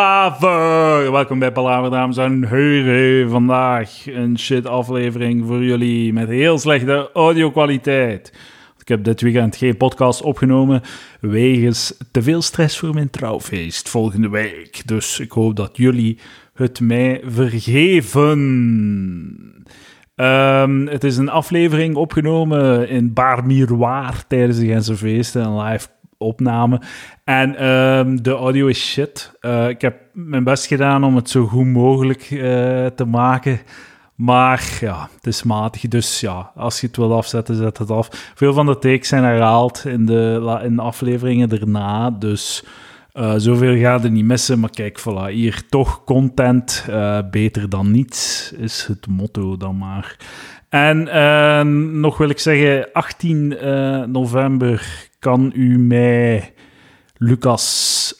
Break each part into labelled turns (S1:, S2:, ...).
S1: Palaver. Welkom bij Palaver, dames en heren. Vandaag een shit aflevering voor jullie met heel slechte audio-kwaliteit. Ik heb dit weekend geen podcast opgenomen wegens te veel stress voor mijn trouwfeest volgende week. Dus ik hoop dat jullie het mij vergeven. Ehm, het is een aflevering opgenomen in Bar Miroir tijdens de Gentse feesten, een live opname. En ehm, de audio is shit. Eh, ik heb mijn best gedaan om het zo goed mogelijk eh, te maken. Maar ja, het is matig. Dus ja, als je het wil afzetten, zet het af. Veel van de takes zijn herhaald in de, la- in de afleveringen daarna. Dus eh, zoveel ga je niet missen. Maar kijk, voilà, hier toch content. eh, beter dan niets is het motto dan maar. En eh, nog wil ik zeggen, 18 eh, november kan u mij Lucas,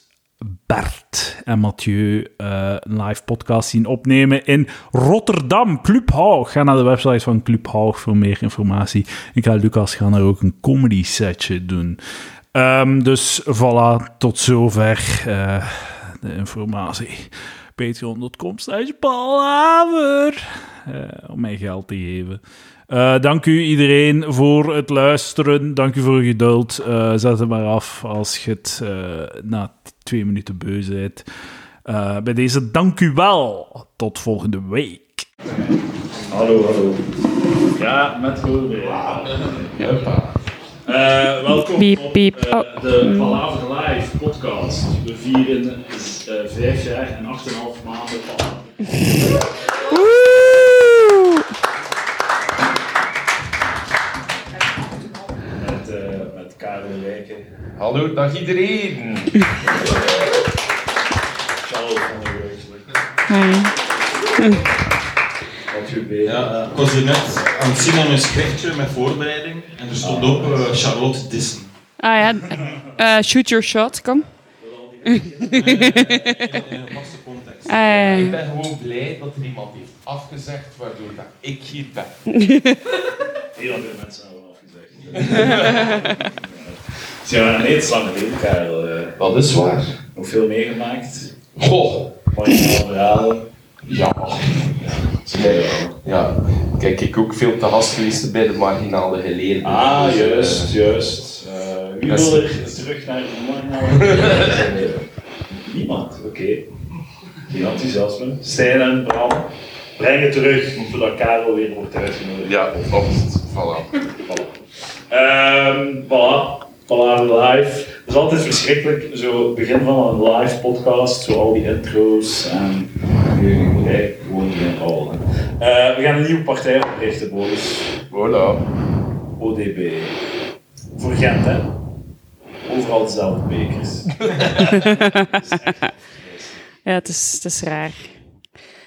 S1: Bert en Mathieu eh, een live podcast zien opnemen in Rotterdam, Club Haug. Ga naar de website van Club Haug voor meer informatie. Ik ga Lucas gaan er ook een comedy setje doen. Ehm, dus voilà, tot zover eh, de informatie. Patreon.com slash palaver eh, om mij geld te geven. Eh, dank u iedereen voor het luisteren. Dank u voor uw geduld. Eh, zet het maar af als je het eh, na t- twee minuten beu bent. Eh, bij deze dank u wel. Tot volgende week.
S2: Hallo, hallo.
S1: Ja, met voorbereiding. Eh, welkom
S3: Piep, op, piep. eh, Oh.
S1: de Palaver Live podcast. We vieren eh, vijf jaar en acht en een half maanden eh, met, met Karel Wijken.
S2: Hallo, dag iedereen.
S1: Charles van der Weijsler.
S4: Ja, eh, ik was hier net aan het zien aan mijn schriftje met voorbereiding. En er stond op eh, Charlotte Dissen.
S3: Ah ja, eh, shoot your shot, kom.
S4: In een vaste context.
S3: Ah, ja, ja.
S2: Ik ben gewoon blij dat er iemand heeft afgezegd waardoor dat ik hier ben.
S1: Heel veel mensen hebben afgezegd. Ze hebben een reeds lange leven, Karel. eh.
S2: Dat is waar.
S1: Nog veel meegemaakt.
S2: Goh.
S1: Mooie verhalen.
S2: Ja. Kijk, ja. Kijk, ik ook veel te gast geweest bij de marginale geleden.
S1: Ah,
S2: Dus, eh,
S1: juist, juist. Eh, wie
S2: Dat is-
S1: wil er terug naar de morgen? Niemand, oké. Geen enthousiasme. Stijn en Bram, breng het terug voordat Karel weer wordt uitgenodigd.
S2: ja, oplost. Voilà.
S1: Ehm, voilà. Voilà, live. Het is altijd verschrikkelijk, zo begin van een live podcast, zo al die intro's en nu moet hij gewoon niet inhouden. Eh, we gaan een nieuwe partij oprichten, Boris.
S2: Voilà.
S1: ODB. Voor Gent, hè? Overal dezelfde bekers.
S3: Ja, het is, het is raar.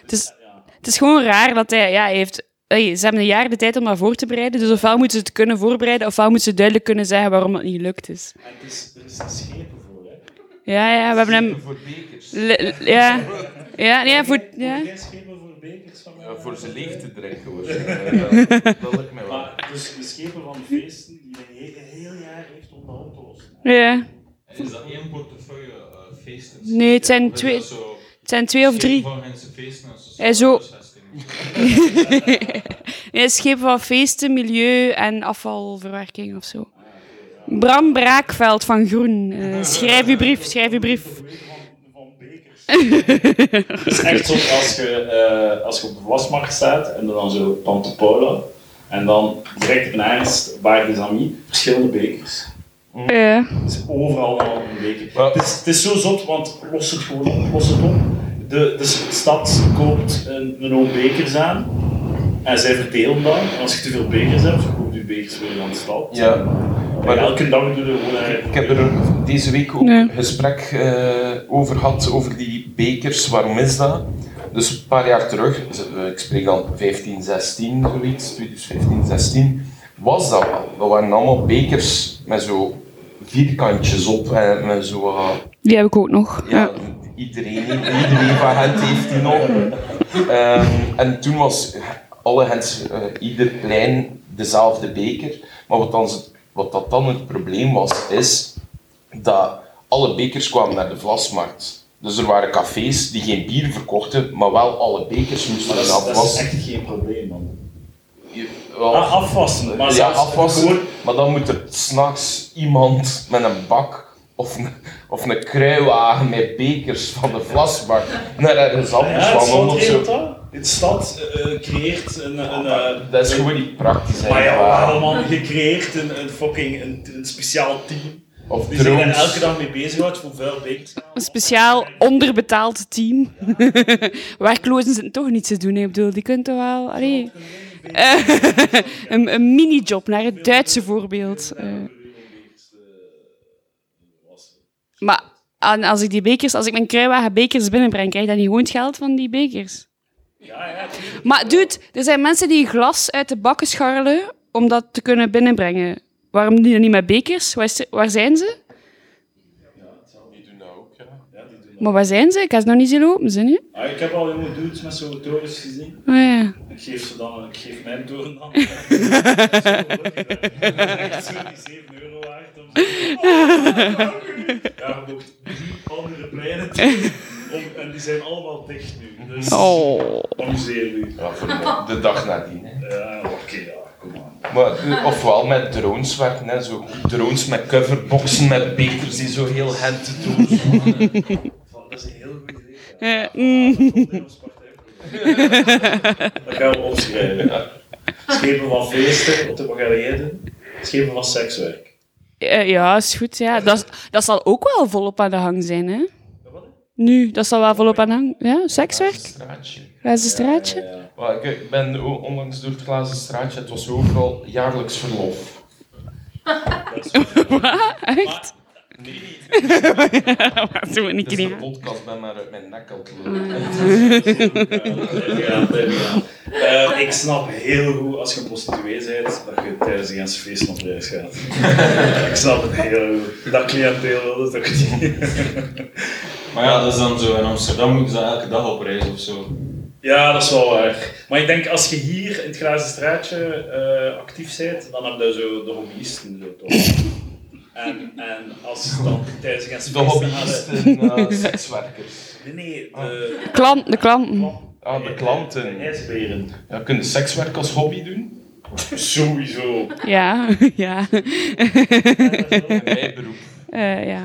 S3: Het is, het is gewoon raar dat hij, ja, hij heeft... hey, ze hebben een jaar de tijd om dat voor te bereiden, dus ofwel moeten ze het kunnen voorbereiden, ofwel moeten ze duidelijk kunnen zeggen waarom het niet gelukt is.
S1: En het is, er is een schepen voor, hè?
S3: Ja, ja, we hebben hem...
S2: Voor bekers.
S3: le- le- ja, ja, nee, voor, ja.
S1: Geen schepen voor bekers van
S2: Ja, eh, voor ze leeg te drinken. hoor. Eh, dat- Dat lukt mij wel.
S1: Maar dus de schepen van feesten die een hele- heel jaar heeft om de hand te lossen.
S3: ja.
S4: Is dat niet een portefeuille eh, feesten?
S3: Nee, het zijn
S4: Of is
S3: twee-
S4: dat zo
S3: Het zijn twee of drie.
S4: Van Gentse feesten en zo.
S3: Eh, zo. Nee, schepen van feesten, milieu en afvalverwerking of zo. Bram Braakveld van Groen. eh, schrijf uw brief, schrijf uw brief.
S1: van bekers. Het is echt zo als je, eh, als je op de wasmarkt staat en dan zo Tante Paula en dan direct naast Bar des Amis verschillende bekers.
S3: Ja.
S1: Het is overal wel een beker.
S2: Ja.
S1: Het, is, het is zo zot, want los het gewoon op, los het op. De, de s- stad koopt een, een hoop bekers aan en zij verdelen dan. En als je te veel bekers hebt, verkoopt je bekers weer aan de stad.
S2: Ja.
S1: Maar
S2: Maar-
S1: elke dag doen we gewoon eh, eigenlijk.
S2: Eh, Ik heb er deze week ook
S3: Nee.
S2: een gesprek eh, over gehad, over die bekers, waarom is dat? Dus een paar jaar terug, z- eh, ik spreek dan 15, 16, zoiets, 2015, 16, was dat wel. Dat waren allemaal bekers met zo vierkantjes op en met zo... eh,
S3: Die heb ik ook nog.
S2: ja, iedereen, iedereen van Gent heeft die nog. Ehm, en toen was alle Gent, eh, ieder plein dezelfde beker. Maar wat, dan, wat dat dan het probleem was, is dat alle bekers kwamen naar de vlasmarkt. Dus er waren cafés die geen bier verkochten, maar wel alle bekers moesten
S1: Maar Ah, dat, is, dat is
S2: afwassen.
S1: echt geen probleem, man.
S2: Je- wel,
S1: Ah, afwassen. Maar
S2: ja,
S1: zelfs
S2: afwassen,
S1: Gewoon,
S2: maar dan moet er s'nachts iemand met een bak of een, of een kruiwagen met bekers van de vlasbak naar ergens anders
S1: ja, het stad
S2: wandelen of zo.
S1: regelt dat. Het stad eh, creëert een... een eh,
S2: Ah, Dat is gewoon niet praktisch. hè.
S1: Maar ja, allemaal gecreëerd een, een fucking een, een speciaal team.
S2: Of
S1: Die zich daar
S2: drones.
S1: elke dag mee bezighoudt voor vuil bekers.
S3: Een speciaal onderbetaald team. Werklozen zijn toch niets te doen. Hè. Ik bedoel, die kunnen toch wel... Allee. Eh, een, een minijob naar het Duitse voorbeeld. Eh. Maar en als ik die bekers, als ik mijn kruiwagen bekers binnenbreng, krijg ik dan niet gewoon het geld van die bekers? Maar dude, er zijn mensen die glas uit de bakken scharrelen om dat te kunnen binnenbrengen. Waarom doen die dat niet met bekers? Waar, is- waar zijn ze?
S2: Die doen dat ook, ja.
S3: Maar waar zijn ze? Ik heb ze nog niet zien lopen, zijn nu?
S1: Ah, ik heb al jonge dudes met zo'n torens gezien.
S3: Oh ja.
S1: Ik geef ze dan, ik geef mijn toren dan. Echt zo die 7 euro waard. Om... ja, je mocht drie andere pleinen doen. om- En die zijn allemaal dicht nu. Dus
S3: Oh.
S1: amuseer u.
S2: Ja, voor de- de dag nadien. Hè.
S1: Ja, oké, ja, kom aan.
S2: Maar, eh, ofwel met drones werken, hè, zo. drones met coverboxen, met bekers die zo heel hand drones
S1: Dat is een heel goed idee. ja.
S3: Eh, mm.
S1: Dat is ons partijprogramma. Dat gaan we opschrijven. Schepen van feesten, wat wat gaan jij doen? Schepen van sekswerk.
S3: Eh, ja, is goed. Ja. Dat, dat zal ook wel volop aan de hang zijn, hè? Nu, dat zal wel volop aan de hang. Ja, sekswerk?
S2: straatje.
S3: Waar is het straatje?
S2: Wel, ik- Ik ben o- onlangs door het glazen straatje, het was overal jaarlijks verlof.
S3: Echt? Wacht, doe ik
S2: Het
S3: niet
S2: is de
S3: aan.
S2: podcast bij maar uit mijn nek al te lopen.
S1: Ja, dat heb ik aan. Eh, ik snap heel goed als je prostituee bent dat je tijdens de ganse feest op reis gaat. ik snap het heel goed. Dat cliënteel wil dat ook niet.
S4: Maar ja, dat is dan zo. In Amsterdam moeten ze elke dag op reis of zo.
S1: ja, dat is wel waar. Maar ik denk als je hier in het glazen straatje eh, actief bent, dan heb je zo de hobbyisten zo toch. En, en als dan tijdens de ganse
S2: De
S1: feesten hadden-
S2: hobbyisten, eh, sekswerkers.
S1: Nee, nee, de,
S3: Klant, de klanten.
S2: Ah, de klanten.
S1: ijsberen.
S2: Ja, kunnen sekswerk als hobby doen?
S1: Sowieso.
S3: Ja, ja.
S2: Een bijberoep.
S3: Eh, ja.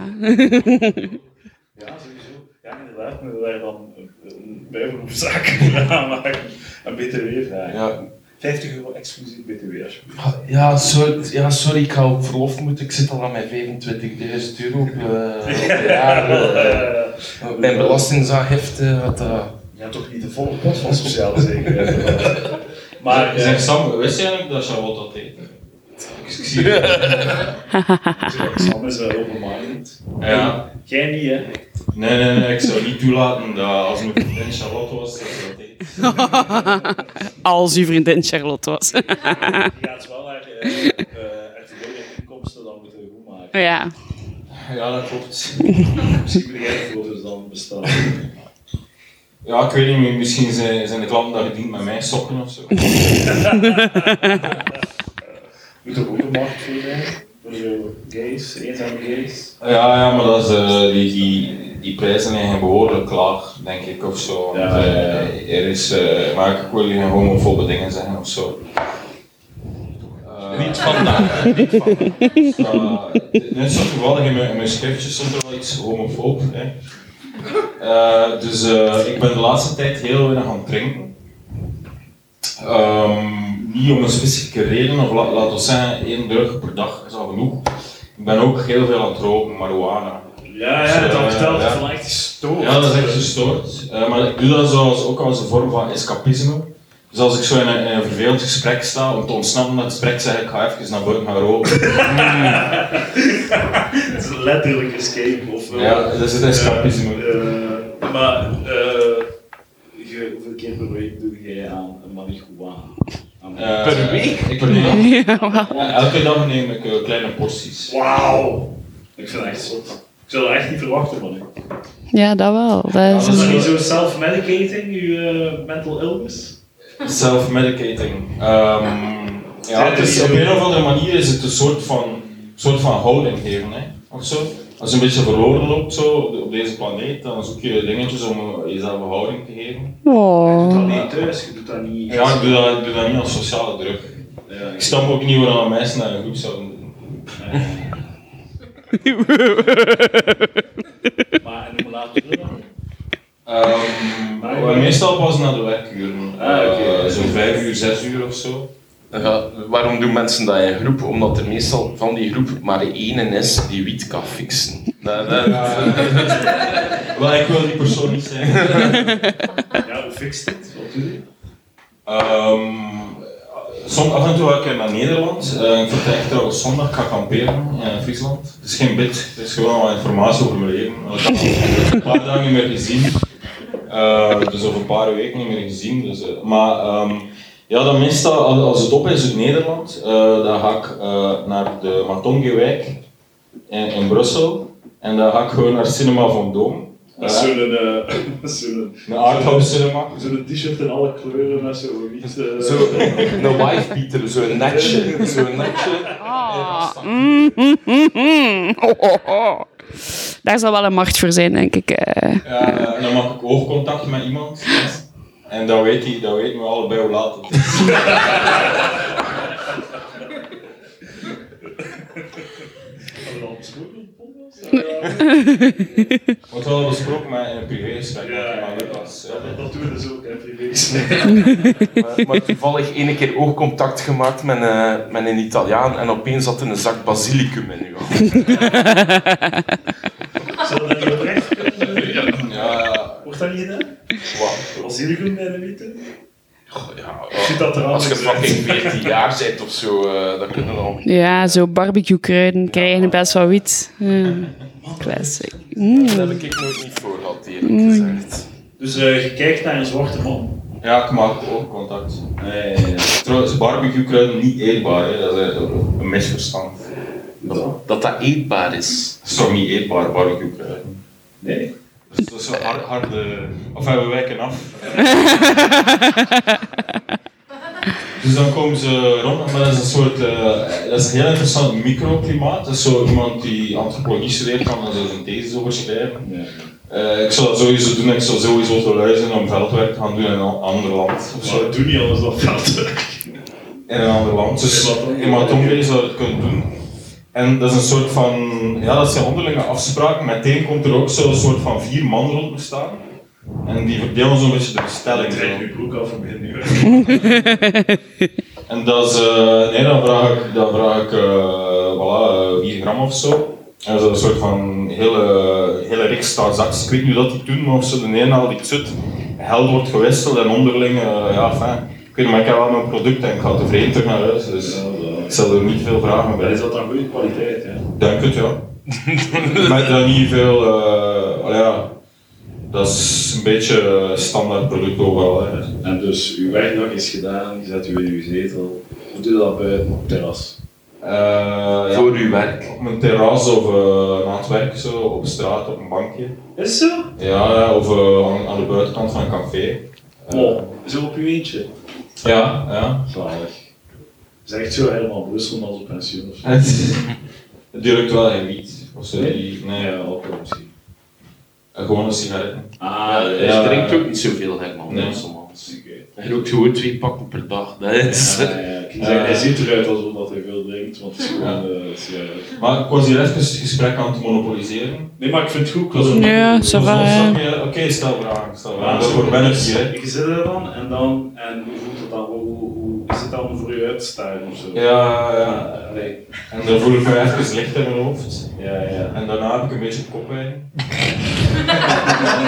S1: Ja, sowieso. Ja, inderdaad, moeten we daar dan eh, een bijberoepszaak voor aanmaken. En BTW vragen.
S2: Ja,
S1: 50 euro exclusief BTW, alsjeblieft.
S2: Ah, ja, sorry, ja, sorry, ik ga op verlof moeten. Ik zit al aan mijn 25.000 euro op, eh, op de jaar. eh. Mijn belastingsaangifte had eh,
S1: ja, toch niet de volle pot van sociale zekerheid. maar,
S4: Zeg
S1: eh,
S4: Sam, wist jij eigenlijk dat Charlotte dat deed?
S1: ik zie het. Sam is wel open-minded.
S4: Ja.
S1: Jij niet, hè?
S4: Nee, nee, nee, ik zou niet toelaten dat als mijn vriendin Charlotte was, dat ze dat deed.
S3: Als uw vriendin Charlotte was.
S1: Je gaat wel naar eh eh RTL-inkomsten, dan moeten we goed maken.
S3: ja.
S4: Ja, dat klopt.
S1: Misschien moet jij de foto's dan bestaan.
S4: Ja, ik weet niet meer, misschien zijn, zijn de klanten daar gediend met mijn sokken of zo.
S1: Moet er ook een markt voor zijn? Voor zo gays, eenzame gays.
S4: Ja, ja, maar dat is, eh, die, die, die prijzen liggen behoorlijk laag, denk ik, of zo.
S1: Ja,
S4: Want, eh,
S1: ja, ja.
S4: er is, eh, maar ik wil hier gewoon homofobe dingen zeggen of zo. Eh, niet vandaag, niet vandaag. in dit soort gevallen, in mijn, in mijn schriftje stond er wel iets homofoob. Hè. Eh, dus eh, ik ben de laatste tijd heel weinig aan het drinken. Ehm, niet om een specifieke reden, of la- laten we zeggen, één druk per dag is al genoeg. Ik ben ook heel veel aan het roken, marihuana.
S1: Ja, ja,
S4: Dus, eh,
S1: dat vertelt
S4: ja.
S1: het van echt gestoord.
S4: Ja, dat is echt gestoord. Eh, maar ik doe dat zoals, ook als een vorm van escapisme. Dus als ik zo in een, in een vervelend gesprek sta, om te ontsnappen uit het gesprek, zeg ik, ga even naar buiten gaan roken.
S1: Het is letterlijk escape of... eh,
S4: Ja, dat is het escapisme.
S1: eh, maar, eh, je- hoeveel keer per week doe jij aan een marihuana? Aan-
S4: Eh,
S2: Per week?
S4: Ik per week.
S3: Ja, wel.
S4: Ja, elke dag neem ik eh, kleine porties.
S1: Wauw! Ik vind dat echt zot. Ik zou dat echt niet verwachten van u.
S3: ja, dat wel. Dat is
S1: Is dat
S3: een-
S1: niet zo self-medicating, je eh, mental illness?
S4: Self-medicating. Ehm, ja, het is, op een of andere manier is het een soort van, soort van houding geven, hè, of zo. als je een beetje verloren loopt zo, op de- op deze planeet, dan zoek je dingetjes om eh, jezelf een houding te geven.
S1: Je doet
S3: Oh.
S1: dat niet thuis, je doet dat niet...
S4: Ja, ik doe dat, ik doe dat niet als sociale druk. Eh,
S1: Ja,
S4: Ik snap ook niet waarom mensen dat in een groep zouden doen.
S1: Maar en hoe laat doe je dat?
S4: Ehm, maar meestal pas na de werkuren.
S1: Ah, oké.
S4: Eh, Zo'n vijf uur, zes uur of zo.
S2: Ja, waarom doen mensen dat in groep? Omdat er meestal van die groep maar één is die wiet kan fixen. Dat, dat,
S4: Wel, ik wil die persoon niet zijn.
S1: Ja, hoe fixt dit? Wat doe je?
S4: Ehm, som- af en toe ga ik naar Nederland. Eh, ik vertrek trouwens zondag, ik ga kamperen in Friesland. Het is geen bid, het is gewoon wat informatie over mijn leven. Ik heb al een paar dagen niet meer gezien. Eh, dus over een paar weken niet meer gezien. Dus, eh, maar ehm, ja, dan meestal, als- als het op is in Nederland, eh, dan ga ik eh, naar de Matongewijk in, in Brussel. En dan ga ik gewoon naar Cinema van Doom.
S1: Met zo'n... eh, met zo'n-
S4: een arthouse cinema.
S1: Zo'n t-shirt in alle kleuren met zo'n wit... eh,
S2: zo, een wife beater, zo'n netje. Zo'n netje.
S3: Ah, mm, mm, mm, mm. Oh, oh, oh. Daar zal wel een markt voor zijn, denk ik. eh.
S4: Ja, en dan maak ik oogcontact met iemand. En dan weet hij, dan weten we allebei hoe laat het is.
S1: Hebben we al besproken in de podcast?
S4: Wordt wel besproken met een privégesprek
S1: Ja, ja,
S4: met
S1: ja.
S4: Lucas.
S1: Ja, dat- dat doen we dus ook in privé.
S2: Maar, maar toevallig één keer oogcontact gemaakt met, eh, met een Italiaan en opeens zat er een zak basilicum in uw hand.
S1: Zou dat niet oprecht kunnen?
S4: Ja,
S1: Wordt dat niet gedaan?
S2: Wat?
S1: Was hier goed bij de witte?
S2: Goh, ja,
S1: Zit dat er
S2: als je
S1: anders uit?
S2: fucking 14 jaar bent of zo, eh dat kunnen we al.
S3: Ja, zo barbecue-kruiden krijgen best wel wit. Ja. Classic. Mm.
S2: Dat heb ik nooit niet voor gehad, eerlijk gezegd.
S1: Dus eh, je kijkt naar een zwarte man.
S4: ja ik maak oogcontact. Nee, ja, ja. Trouwens, barbecue kruiden niet eetbaar, hè. dat is een, een misverstand.
S2: Dat dat, dat eetbaar is.
S4: Het is toch niet eetbaar, barbecue kruiden?
S1: Nee.
S4: Dus dat is zo'n hard, harde. Of we wijken af. Dus dan komen ze rond, maar dat is een soort, eh, dat is een heel interessant microklimaat. Dat is zo iemand die antropologie studeert, kan daar zo zijn thesis over schrijven. Eh, ik zou dat sowieso doen, ik zou sowieso te luisteren om veldwerk te gaan doen in een an- ander land. Of
S1: Maar
S4: zo.
S1: dat doe niet anders dan veldwerk.
S4: In een ander land. Dus
S1: In Matongé.
S4: in Matongé zou je het kunnen doen. En dat is een soort van, ja dat zijn onderlinge afspraken. Meteen komt er ook zo'n soort van vier man rond me staan. En die verdelen zo'n beetje de bestelling.
S1: Ik
S4: zo.
S1: trek je broek af en begin nu.
S4: En dat is, eh, nee, dan vraag ik, dan vraag ik eh, voilà, eh, 4 gram of zo. En dat is een soort van hele, hele reeks transacties. Ik weet niet hoe dat die doen, maar of ze de ene haal die het zit, geld wordt gewisseld en onderling, eh, ja, fijn. Ik weet niet, maar ik heb wel mijn product en ik ga tevreden terug naar huis. Dus ik stel er niet veel vragen
S1: Maar
S4: bij.
S1: is dat dan goede kwaliteit, hè?
S4: Dank het, ja. Met dan niet veel, eh, al ja, dat is een beetje eh, standaard product overal. Hè.
S1: En dus, uw werkdag is gedaan, je zet u in uw zetel. Of doe je dat buiten op het terras?
S4: Eh, ja.
S2: Voor uw werk.
S4: Op een terras of eh aan het werk, zo, op straat, op een bankje.
S1: Is het zo?
S4: Ja, eh, of eh, aan, aan de buitenkant van een café. Eh,
S1: Oh, zo op uw eentje.
S4: Ja, ja.
S1: Zalig. Het is echt zo helemaal Brussel, maar als op pensioen of zo.
S4: Het duurt wel geen wiet. Of zo. die- Nee,
S1: Ja,
S4: ja.
S1: alcohol misschien.
S4: Eh, gewoon een sigaret.
S1: Ah,
S2: je
S4: ja.
S2: drinkt ook niet zoveel, helemaal.
S4: Nee.
S2: Nee. soms. Hij rookt gewoon twee pakken per dag. Dat is...
S1: Ja, ja, ik wou zeggen, hij ziet eruit alsof dat hij veel drinkt, want het is gewoon... eh, het is, ja.
S4: Maar ik was hier even het gesprek aan het monopoliseren. Dus
S1: Nee, maar ik vind het goed.
S4: Ik was een-
S3: Ja, ça
S4: ik was
S3: va,
S4: een
S3: hè.
S4: stapje- Oké, stel vragen. Stel vragen.
S1: zo
S4: Daarvoor ben ik hier. hè.
S1: Je zit er dan en dan, en hoe voelt het dan? Hoe, hoe, hoe is het dan voor je uit te staan of zo?
S4: Ja, ja.
S1: Ah, nee.
S4: En dan voel ik me even licht in mijn hoofd.
S1: Ja, ja.
S4: En daarna heb ik een beetje koppijn.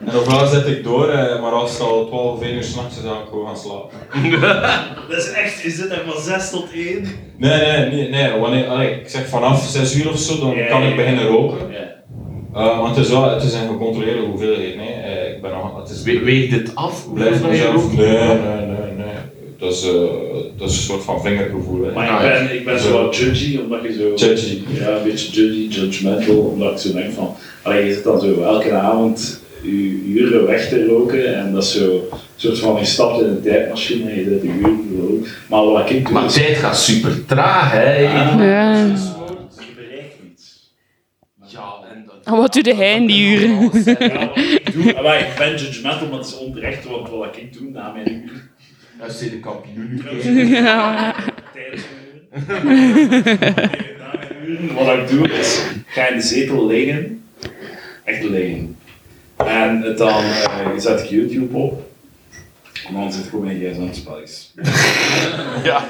S4: en ofwel zet ik door, eh, maar als het al 12 of 1 uur s'nachts is, dan ga ik gewoon gaan slapen.
S1: Dat is echt, is dit echt van 6 tot 1?
S4: Nee, nee, nee, nee. Wanneer, allee, ik zeg vanaf 6 uur of zo, dan
S1: Ja,
S4: kan
S1: ja, ja.
S4: ik beginnen roken.
S1: Ja.
S4: Eh, want het is, wel, het is een gecontroleerde hoeveelheid. Nee, Eh, ik ben nog, het is
S2: We, weeg dit af?
S4: blijft
S2: hoeveel dat je rookt?
S4: mezelf. Nee, nee, nee, nee. Dat is, eh, dat is een soort van vingergevoel. Hè. Dus,
S1: Maar ik ben, ik ben zo wat judgy, omdat je zo...
S4: Ah, Judgy.
S1: Ja, een beetje judgy, judgmental, omdat ik zo denk van... Allee, je zit dan zo elke avond je uren weg te roken en dat is zo... Een soort van, je stapt in een tijdmachine en je zit de uren te roken. Maar wat ik doe...
S2: Maar
S1: is-
S2: tijd gaat super traag, hè?
S1: Ah,
S3: Ja.
S1: dat is zo, Je bereikt niets.
S3: En wat doet hij in die uren?
S1: Ja, wat ik doe, amai, ik ben judgmental, maar het is onterecht wat, wat ik doe na mijn uur.
S2: FC de kampioen.
S3: Ja.
S1: Tijdens mijn uren. Nee, na mijn uren. Wat ik doe is, ik ga in de zetel liggen. Echt liggen. En het dan eh, zet ik YouTube op. En dan zit ik op mijn gsm spelletjes.
S2: Ja.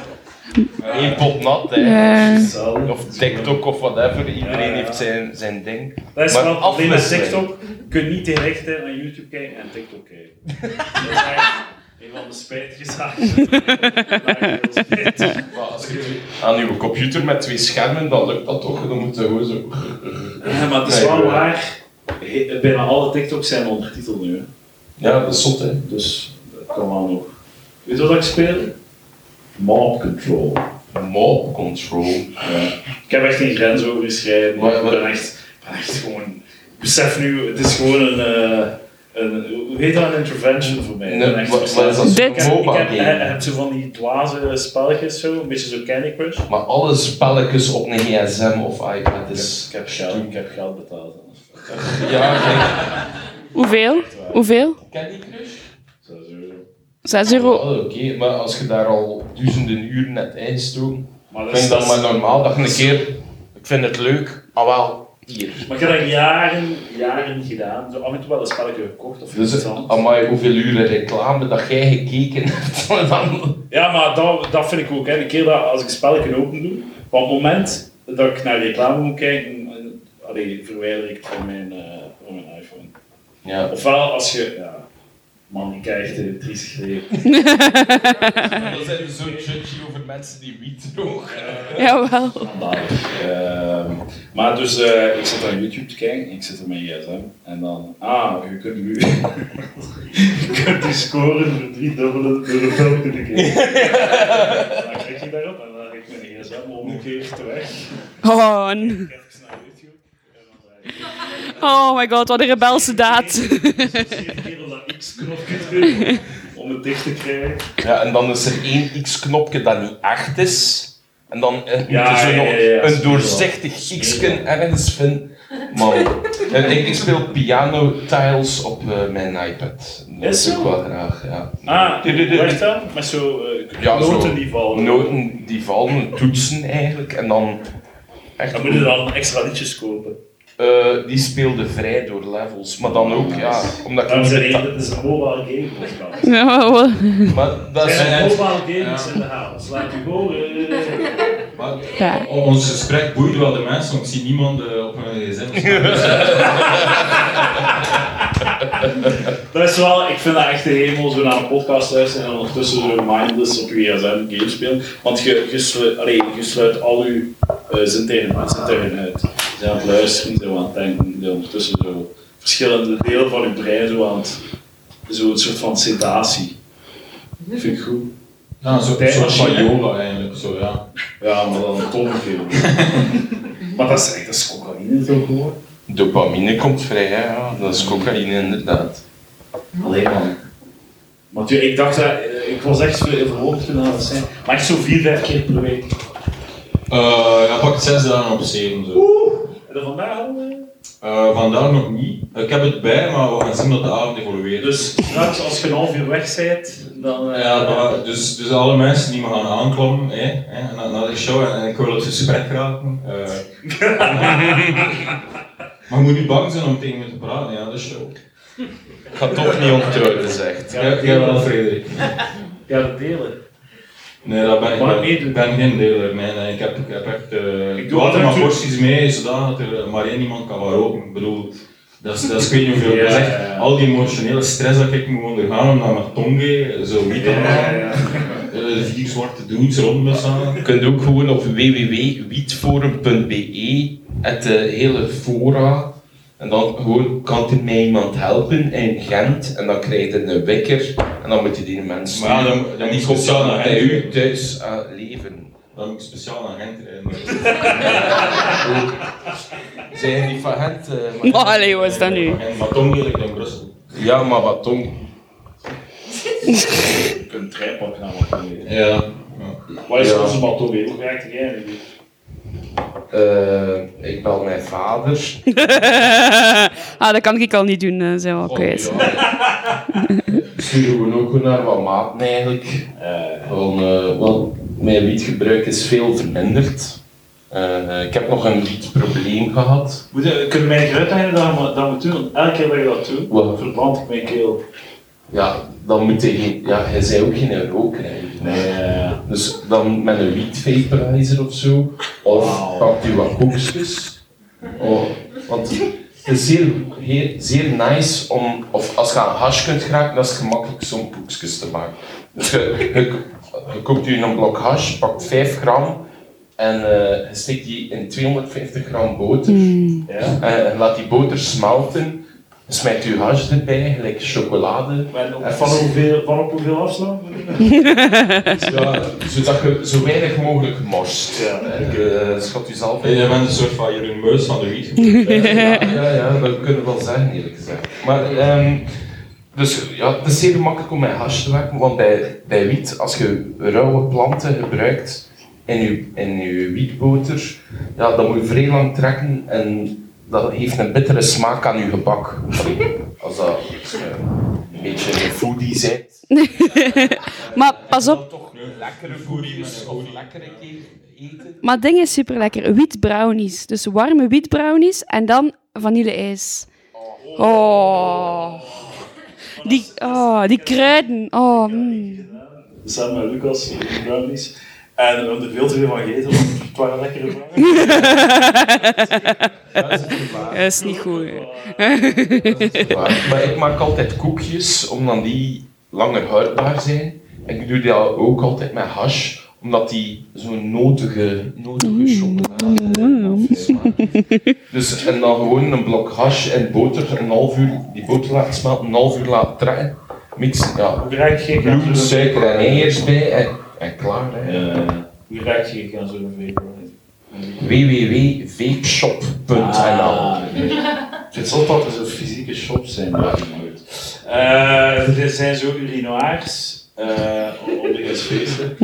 S2: Eén pot nat, hè.
S3: Ja.
S1: Hetzelfde.
S2: Of TikTok of whatever. Iedereen heeft zijn, zijn ding.
S1: Dat is
S2: Maar
S1: wel het probleem met
S2: afwisseling.
S1: TikTok. Je kunt niet tegen rechten naar YouTube kijken en TikTok kijken. Dat is echt een van de spijtige zaken. Dat is heel spijtig.
S2: Maar als je aan uw computer met twee schermen, dan lukt dat toch. Dan moet je gewoon zo...
S1: Ja, maar het is
S2: Nee,
S1: wel
S2: eh,
S1: waar. He- Bijna alle TikToks zijn ondertiteld nu. hè.
S2: Ja, dat is zot, hè.
S1: Dus dat kan wel nog. Weet je wat ik speel? Mob Control.
S2: Mob control.
S1: Ja. Ik heb echt geen grens overgeschreden.
S2: Wat-
S1: Ik
S2: wat-
S1: ben echt, ik ben echt gewoon. ik Besef nu, het is gewoon een. eh, een hoe heet dat? Een intervention voor mij. Ik
S2: Nee,
S1: ben echt
S2: wat- wat is dat?
S1: besef-
S3: Dit-
S1: Ik heb, ik
S2: MOBA
S1: heb, eh, je
S2: game.
S1: hebt zo van die dwaze spelletjes zo, een beetje zo Candy Crush.
S2: Maar alle spelletjes op een gsm of iPad is...
S1: Ik heb geld, ik heb geld betaald.
S2: Ja, kijk.
S3: Hoeveel? Hoeveel?
S2: Candy Crush?
S1: Zo, zo.
S3: 6 euro.
S2: Oh, Oké, maar als je daar al duizenden uren net ingestoken,
S1: Maar
S2: vind ik dat maar normaal dat je een keer... Ik vind het leuk, ah wel, hier.
S1: Maar ik heb dat jaren, jaren niet gedaan. Zo af en toe wel een spelletje gekocht of
S2: Dus,
S1: iets anders.
S2: amai, hoeveel uren reclame dat jij gekeken hebt. en dan-
S1: Ja, maar dat, dat vind ik ook. Hè. Een keer dat als ik een spelletje open doe, maar op het moment dat ik naar reclame moet kijken, eh, allee, verwijder ik het van mijn, eh, van mijn iPhone.
S2: Ja.
S1: Ofwel als je. Ja, man, ik krijg echt een triestig leven.
S2: Dan zijn we zo judgy over mensen die wiet roken.
S3: Jawel.
S1: Schandalig. Ehm, maar dus, eh, ik zit aan YouTube te kijken, ik zit op mijn gsm. En dan, ah, je kunt nu... je kunt die scoren voor drie dubbelen door een film te kijken. dan klik je daarop en dan heb ik mijn gsm omgekeerd weg.
S3: Gewoon.
S1: Ik kijk even naar YouTube. en dan zeg ik, dus
S3: Oh my god, wat een rebelse daad.
S1: Zeven keer op dat X-knopje drukken eh, om het dicht te krijgen.
S2: Ja, en dan is er één x-knopje dat niet echt is. En dan eh, moet je
S1: Ja,
S2: zo
S1: ja,
S2: nog
S1: ja, ja,
S2: een
S1: speel.
S2: doorzichtig x-ken ergens vinden. Man, en ik, ik speel piano tiles op eh, mijn iPad. Dat
S1: Is
S2: doe ik
S1: zo?
S2: wel graag, ja.
S1: Ah,
S2: Dit- dit- dit-
S1: wacht dan, met zo eh,
S2: Ja, zo.
S1: noten die vallen.
S2: Noten die vallen, toetsen eigenlijk. En dan echt...
S1: Dan moet je dan extra liedjes kopen.
S2: Eh, die speelde vrij door levels. Maar dan ook, ja, omdat ik
S1: Dames en
S2: niet...
S1: heren, dit is een mobile game podcast.
S3: Ja, wel.
S2: Maar dat is...
S1: En mobile games in de house. Laat je eh, horen.
S4: Maar
S3: Ja.
S4: o- ons gesprek boeide wel de mensen, want ik zie niemand eh, op hun gsm. staan.
S1: Dat is wel, ik vind dat echt de hemel, zo naar een podcast luisteren en ondertussen zo mindless op je gsm games spelen. Want je, je, slu- allee, je sluit al je eh zintuigen aan, zintuigen uit. Je bent aan het luisteren, zo aan het denken, je bent ondertussen zo verschillende delen van je brein zo aan het, zo een soort van sedatie. Vind ik goed.
S4: Ja, zo,
S1: Tijd
S4: zoals van
S1: machine.
S4: yoga eigenlijk, zo ja.
S1: Ja, maar dan toch veel. maar dat is echt, dat is cocaïne toch hoor.
S2: Dopamine komt vrij, hè, ja. Dat is cocaïne, inderdaad.
S1: Alleen man. Want ja, ik dacht dat, eh, ik was echt zo verwonderd toen dat dat zijn. Maar echt zo vier, vijf keer per week.
S4: Eh ja, pak zes dagen op zeven. Zo.
S1: En dan vandaag al. eh,
S4: Eh, vandaag nog niet. Ik heb het bij, maar we gaan zien dat de avond evolueert.
S1: Dus straks, als je een half uur weg bent, dan. eh,
S4: Ja, maar dus, dus alle mensen die me gaan aanklammen hè, hè, na, na de show en, en ik wil het gesprek raken. eh. maar je moet niet bang zijn om tegen me te praten, ja, de show.
S2: Ik ga toch niet onthouden, zegt.
S1: Ja,
S4: Jij jij wel, Frederik.
S1: Ja, dat delen.
S4: Nee, dat ben ik
S1: Maar
S4: niet.
S1: meedoen.
S4: Ik ben geen deler, nee, nee. Ik heb, ik heb echt... eh
S1: Ik doe
S4: ik doe
S1: dat
S4: altijd maar
S1: natuurlijk.
S4: porties mee, zodat er eh, maar één iemand kan gaan roken. Ik bedoel, dat is, dat is ik weet niet hoeveel.
S1: Ja,
S4: dat is echt
S1: ja, ja.
S4: al die emotionele stress dat ik moet ondergaan om dan met Tonge, zo wiet aan te halen. Eh, vier zwarte dudes rond me staan.
S2: Je kunt ook gewoon op www.wietforum.be het eh, hele fora en dan gewoon kan er mij iemand helpen in Gent en dan krijg je een wekker en dan moet je die mensen
S4: Maar ja, dan-
S2: en
S4: dan moet
S2: die
S4: je
S2: komt
S4: speciaal
S2: dan
S4: naar
S2: bij
S4: Gent.
S2: u thuis eh, leven.
S4: Dan moet ik speciaal naar Gent rijden.
S2: Zijn jullie van Gent? eh, maar-
S3: Maar Oh, allee, wat is dat nu?
S4: En Matongi ligt in Brussel.
S2: Ja, maar wat tong.
S1: Je kunt een treinpak gaan maken.
S4: Ja.
S1: Wat is
S2: Ja.
S1: onze man toch weer? Hoe raakt jij nu?
S2: Eh, ik bel mijn vader.
S3: ah, dat kan ik al niet doen, eh, zijn we al kwijt.
S2: Sturen we ook weer naar wat maten eigenlijk. Want, eh, wel, mijn wietgebruik is veel verminderd. Eh, ik heb nog een wietprobleem gehad.
S1: Moet je- Kunnen mij niet uitleggen dat we dat moet doen? Elke keer dat je dat doet,
S2: Wat?
S1: verbrand ik mijn keel.
S2: Ja, dan moet je geen... Ja, hij zei ook geen roker eigenlijk.
S1: Nee,
S2: Dus dan met een wiet vaporizer of zo. Of pakt u wat koekjes. Oh, want het is zeer, heer- zeer nice om, of als je aan hash kunt geraken, dat is het gemakkelijk om koekjes te maken. Dus je, je, je koopt u een blok hash, pakt 5 gram en eh, je steekt die in 250 gram boter.
S1: Ja.
S2: En, en laat die boter smelten. Smijt uw hash erbij, gelijk chocolade.
S1: Maar op-
S2: En
S1: van
S2: van-
S1: hoeveel, van op hoeveel afstand?
S2: Ja, zodat je zo weinig mogelijk morst.
S1: Ja.
S2: Je eh, schat jezelf in.
S4: Je bent een soort van Jeroen Meus van de wiet.
S2: Ja, ja, ja, dat kunnen we wel zeggen, eerlijk gezegd. Maar, ehm, dus ja, het is zeer makkelijk om met hash te werken, want bij, bij wiet, als je rauwe planten gebruikt in je, in je wietboter, ja, dan moet je vrij lang trekken en dat heeft een bittere smaak aan je gebak. Allee, Als dat eh, een beetje een foodie bent.
S3: Maar pas op,
S2: Toch lekkere foodies of lekkere ke- eten.
S3: maar het ding is super lekker. Wheat brownies. Dus warme wheat brownies en dan vanille-ijs. Oh. Die, oh, die kruiden. Oh, mm.
S1: samen met Lucas, de brownies. En we hebben er veel te veel van gegeten, want het waren lekkere brownies.
S3: Dat is niet goed. hè.
S2: Maar, maar ik maak altijd koekjes, omdat die langer houdbaar zijn. En ik doe dat ook altijd met hash, omdat die zo'n notige, notige chocolade smaak heeft. Dus en dan gewoon een blok hash en boter, een half uur, die boter laten smelten, een half uur laten trekken. Mix, ja,
S1: Hoe raak je geen
S2: bloed, suiker en eiers bij en, en klaar. hè.
S1: Hoe raak je geen zo'n vapor?
S2: www.vapeshop.nl
S1: Het is zot dat er zo'n fysieke shops zijn, maar goed. Eh, er zijn zo urinoirs eh op de feesten.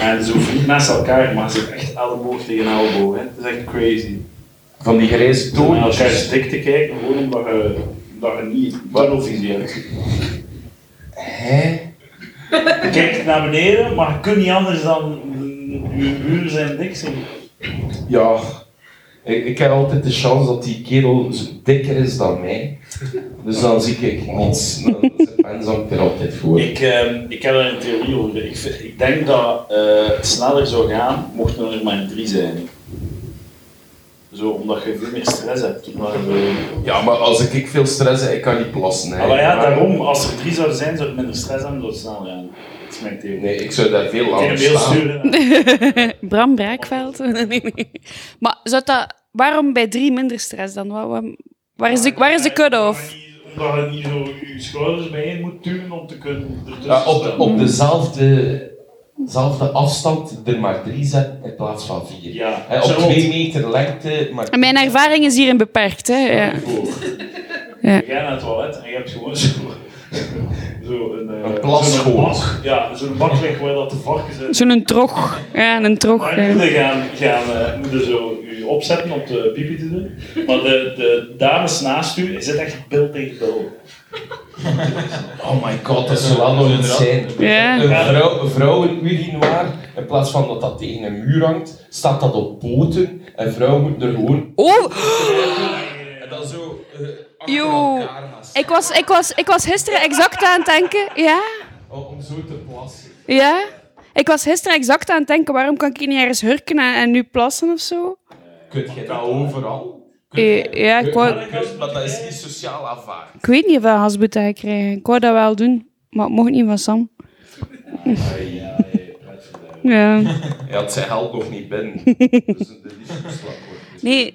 S1: En zo vriend naast elkaar, maar ze zijn echt elleboog tegen elleboog. Hè. Dat is echt crazy.
S2: Van die grijze
S1: Door naar elkaar
S2: toontjes.
S1: dik te kijken, gewoon omdat je, omdat je niet tunnelvisie hebt.
S2: Hè?
S1: Je kijkt naar beneden, maar je kunt niet anders dan mm, je buren zijn dik zien.
S2: Ja, ik, ik heb altijd de kans dat die kerel zo dikker is dan mij. Dus dan zie ik niets. Dan dan zang ik er altijd voor.
S1: Ik, ehm, ik heb daar een theorie over. Ik, vind- ik denk dat eh, het sneller zou gaan mochten er maar drie zijn. Zo, omdat je veel meer stress hebt. Maar,
S2: Ja, maar als ik veel stress heb, ik kan niet plassen. hè.
S1: maar ja, daarom, als er drie zouden zijn, zou het minder stress hebben, zou het sneller gaan. Dat is mijn theorie.
S2: Nee, ik zou daar veel
S1: Ik kan
S2: langer
S1: een mail
S2: staan.
S1: sturen.
S3: Bram Braakveld. Nee, nee, nee. Maar zou dat, waarom bij drie minder stress dan? Waar, waar, waar is de, waar is de cut-off?
S1: Omdat je niet zo je schouders bijeen moet duwen om te kunnen ertussen
S2: Ja, op,
S1: staan.
S2: op dezelfde zelfde afstand er maar drie zetten in plaats van vier.
S1: Ja.
S2: Hè, op
S1: Zo, want-
S2: twee meter lengte, maar
S3: En Mijn ervaring is hierin beperkt. Hè? Ja. Ja.
S1: Je gaat naar het toilet en je hebt gewoon zo, zo een, eh,
S2: Een plas
S1: zo'n
S2: gewoon.
S1: bak. Ja, zo'n bak weg waar dat de varkens zijn.
S3: Zo'n trog. Ja, een trog.
S1: Maar je moet
S3: Ja.
S1: er gaan, gaan eh, moet er zo je opzetten om de pipi te doen. Maar de, de dames naast u zitten echt bil tegen bil.
S2: oh my god, dat zou wel nog iets zijn.
S3: Ja.
S2: Een vrouw, een vrouwenurinoir, in plaats van dat dat tegen een muur hangt, staat dat op poten en vrouwen moeten er gewoon...
S3: Oh,
S2: En dan zo eh, achter
S3: Yo.
S2: elkaar gaan staan,
S3: ik was, ik, was, ik was gisteren exact aan het denken. Ja,
S2: Oh, om- om zo te plassen.
S3: ja. Ik was gisteren exact aan het denken, waarom kan ik hier niet ergens hurken en, en nu plassen of zo?
S2: Kun je dat overal? Kun
S3: Eh,
S2: je-
S3: ja, ik wou-
S2: maar- kun- Maar dat is niet sociaal aanvaard.
S3: Ik weet niet of ik hasboet ga krijgen. Ik wou dat wel doen, maar het mocht niet van Sam. Ja.
S2: Ja, het zijn helpt nog niet binnen. dus de liefdesslag wordt.
S3: Nee,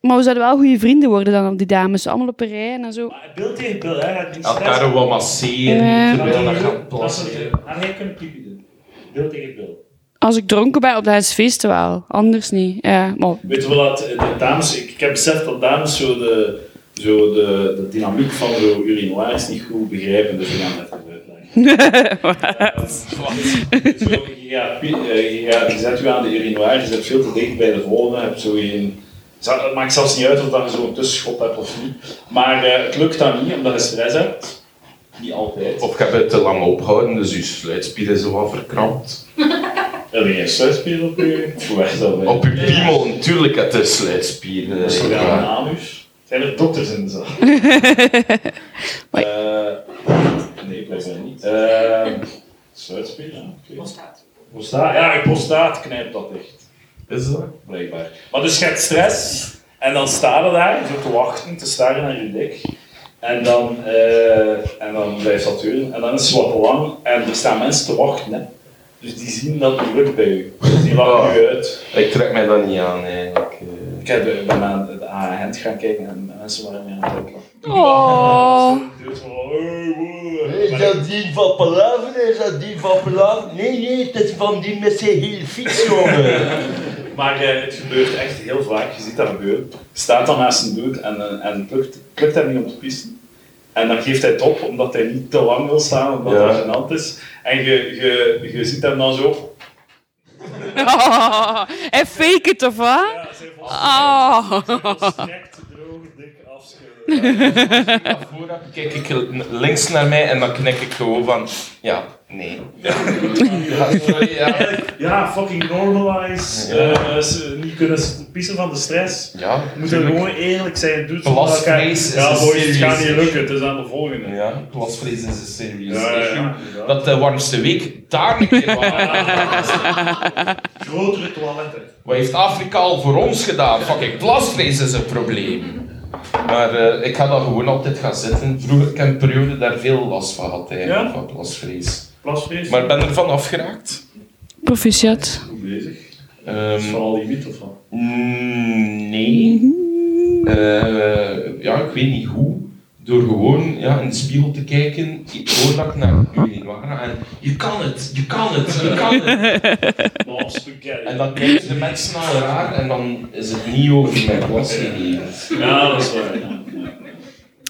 S3: maar we zouden wel goede vrienden worden dan op die dames. Allemaal op een rij en dan zo.
S1: Maar Bil tegen bil, hè? Dat is niet
S2: Elkaar wat masseren,
S3: Ja.
S2: terwijl dat
S1: plassen.
S2: gaat plassen.
S1: En jij kunt pipi doen. Bil tegen bil.
S3: Als ik dronken ben op de feesten wel. Anders niet. Ja, maar
S1: Weet je wel dat eh, de dames, ik, ik heb beseft dat dames zo de, zo de, de dynamiek van zo'n urinoirs niet goed begrijpen, dus we gaan dat even uitleggen. Zo, ja, eh, ja, je zet u aan de urinoir, je zit veel te dicht bij de volgende, hebt zo geen... Zou- Het maakt zelfs niet uit of dat je zo'n tussenschop hebt of niet. Maar eh, het lukt dan niet, omdat je stress hebt. Niet altijd.
S2: Of ik heb het te lang opgehouden, dus je sluitspier is wat verkrampt.
S1: Heb je geen sluitspier op je? Hoe is dat?
S2: Op je piemel, natuurlijk, het is sluitspier. eh,
S1: Is er wel een
S2: ja.
S1: anus? Zijn er dokters in de zaal?
S3: Maar-
S1: Eh, nee, blijkbaar niet. Eh Sluitspier, ja, oké. Prostaat. Ja, je prostaat knijpt dat dicht.
S2: Is dat?
S1: blijkbaar. Maar dus je hebt stress en dan sta je daar, zo te wachten, te staren naar je dik. En dan, eh, en dan blijft dat duren. En dan is het wat lang en er staan mensen te wachten. Hè. Dus die zien dat het lukt bij u. Dus die lachen u uit.
S2: Ik trek mij dat niet aan eigenlijk. eh.
S1: Ik heb, eh, ben aan het AHN gaan kijken en mensen waren meer aan het lachen.
S3: Oh.
S1: Dus van, hey, woe.
S5: Is dat die van Palaver? Is dat die van Palaver? Nee, nee, het is van die met zijn heel fiets, jongen.
S1: Maar eh, het gebeurt echt heel vaak, je ziet dat gebeuren. Je staat dan naast een dude en, eh, en plukt, plukt hem niet om te pissen. En dan geeft hij het op, omdat hij niet te lang wil staan, omdat
S2: Ja.
S1: dat gênant is. En je, je, je ziet hem dan zo...
S3: Oh. En fake het of wat?
S1: Ja, zijn
S3: Oh.
S1: droog, dik afschudden.
S2: Daarvoor heb- Kijk ik links naar mij en dan knik ik gewoon van ja, nee. Ja, sorry, ja.
S1: Ja, fucking normalize. eh, ze niet kunnen s- pissen van de stress.
S2: Ja,
S1: We moeten
S2: tuurlijk.
S1: gewoon eerlijk zijn, doet
S2: Belastvlees is
S1: Ja,
S2: een
S1: boys, het gaat niet
S2: serieus-
S1: lukken, het is aan de volgende.
S2: Ja, plasvlees is een serieus
S1: Ja, ja, ja.
S2: issue. Dat de warmste week daar een keer van.
S1: Grotere toiletten.
S2: Wat heeft Afrika al voor ons gedaan? Fucking plasvlees is een probleem. Maar eh, ik ga daar gewoon altijd gaan zitten. Vroeger, ik heb een periode daar veel last van gehad eigenlijk,
S1: Ja?
S2: van plasvlees.
S1: Plasvlees.
S2: Maar ik ben ervan afgeraakt.
S3: Proficiat.
S1: Goed bezig.
S2: Ehm,
S1: Van al die mythe van.
S2: Mm, Nee. Eh, ja, ik weet niet hoe. Door gewoon ja, in de spiegel te kijken, ik- voordat ik naar Urinoara en je kan het, je kan het, je kan het.
S1: Nog spaghetti.
S2: En dan kijken de mensen al raar en dan is het niet over mijn glas gegeven.
S1: Ja, dat is waar. Ja.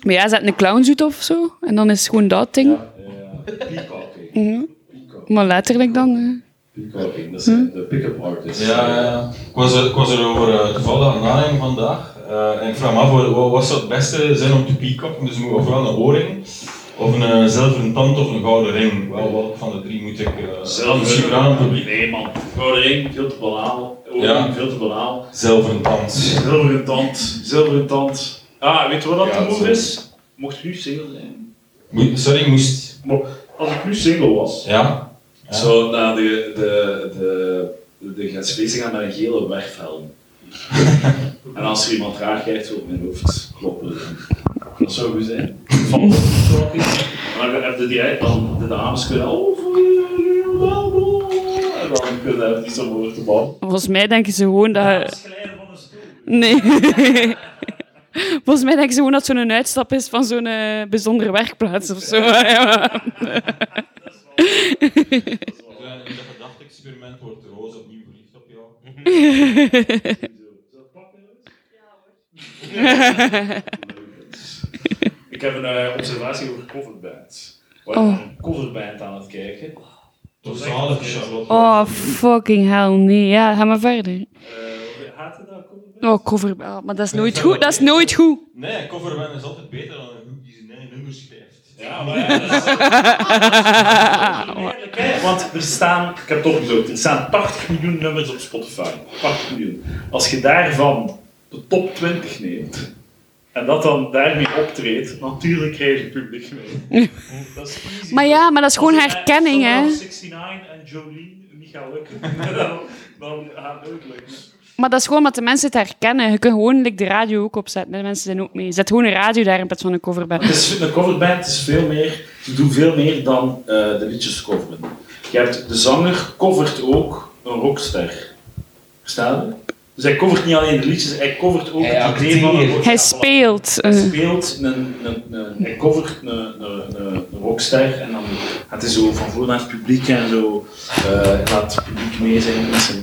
S3: Maar ja, zet een clownsuit op of zo. En dan is het gewoon dat ding.
S1: Peacocking.
S3: Mhm. Maar letterlijk dan. eh, hè.
S1: Peacocking, dat zijn de pick-up artists.
S4: Ja, ja, ja. Ik was, er, ik was erover eh, toevallig aan nadenken vandaag. Eh, en ik vraag me af, wat- wat zou het beste zijn om te peacocken? Dus moet ik ofwel een oorring, of een eh, zilveren tand of een gouden ring. Wel, welke van de drie moet ik eh
S1: Zelf
S4: misschien aan het publiek?
S1: Nee, man. Gouden ring, veel te banaal.
S4: Ja.
S1: Ja. Veel te banaal.
S4: Zilveren tand.
S1: Zilveren tand. Zilveren tand. Ah, weet je wat dat
S2: Ja,
S1: de move
S2: zo.
S1: is? Mocht u single zijn.
S4: Moe- sorry, moest.
S1: Mo- Als ik nu single was,
S4: Ja? Ja.
S1: zou naar de, de, de, de, de Gensfeesten gaan met een gele weghelm. en als er iemand raar kijkt, zo op mijn hoofd kloppen. Dat zou goed zijn. Van Maar dan heb je direct dan de dames kunnen. Oh, voor je wel, En dan kunnen ze niet zo mooi te bal.
S3: Volgens mij denken ze gewoon dat. je-
S1: Glijden van een stoel.
S3: Nee. Volgens mij denken ze gewoon dat het zo'n uitstap is van zo'n eh, bijzondere werkplaats of zo. Ja.
S4: Een Eh, gedachte-experiment wordt Roos opnieuw verliefd op jou.
S1: Ik heb een eh, observatie over coverband. We
S3: Oh.
S1: waren een coverband aan het kijken.
S4: Tot zalige Charlotte.
S3: Oh, fucking hell, nee. Ja, ga maar verder.
S1: Eh haatte dat coverband?
S3: Oh, cover. ah, maar dat is nooit goed. Dat is nooit goed.
S4: Nee, coverband is altijd beter dan een groep die zijn eigen nummers schrijft.
S1: Ja, maar ja, dat is- Hè, Want er staan, ik heb het opgezocht, er staan 80 miljoen nummers op Spotify. 80 miljoen. Als je daarvan de top 20 neemt en dat dan daarmee optreedt, natuurlijk krijg je publiek mee. Dat is easy.
S3: Maar ja, maar dat is gewoon
S1: Als je
S3: herkenning,
S1: Summer
S3: hè?
S1: of 69 en Jolene niet gaan lukken, dan, dan gaat het ook lukken.
S3: Maar dat is gewoon omdat de mensen het herkennen. Je kunt gewoon like, de radio ook opzetten. De mensen zijn ook mee. Zet gewoon een radio daar in plaats van een coverband.
S1: Het is, een coverband is veel meer, ze doen veel meer dan eh, de liedjes coveren. Je hebt de zanger covert ook een rockster. Verstaan je? Dus hij covert niet alleen de liedjes, hij covert ook
S2: Hij
S1: het idee van een
S2: acteert.
S1: rockster.
S3: Hij speelt.
S1: Hij
S3: eh.
S1: speelt een, een, een, hij covert een, een, een, een rockster en dan gaat hij zo van voor naar het publiek en zo eh laat het publiek mee zijn met zijn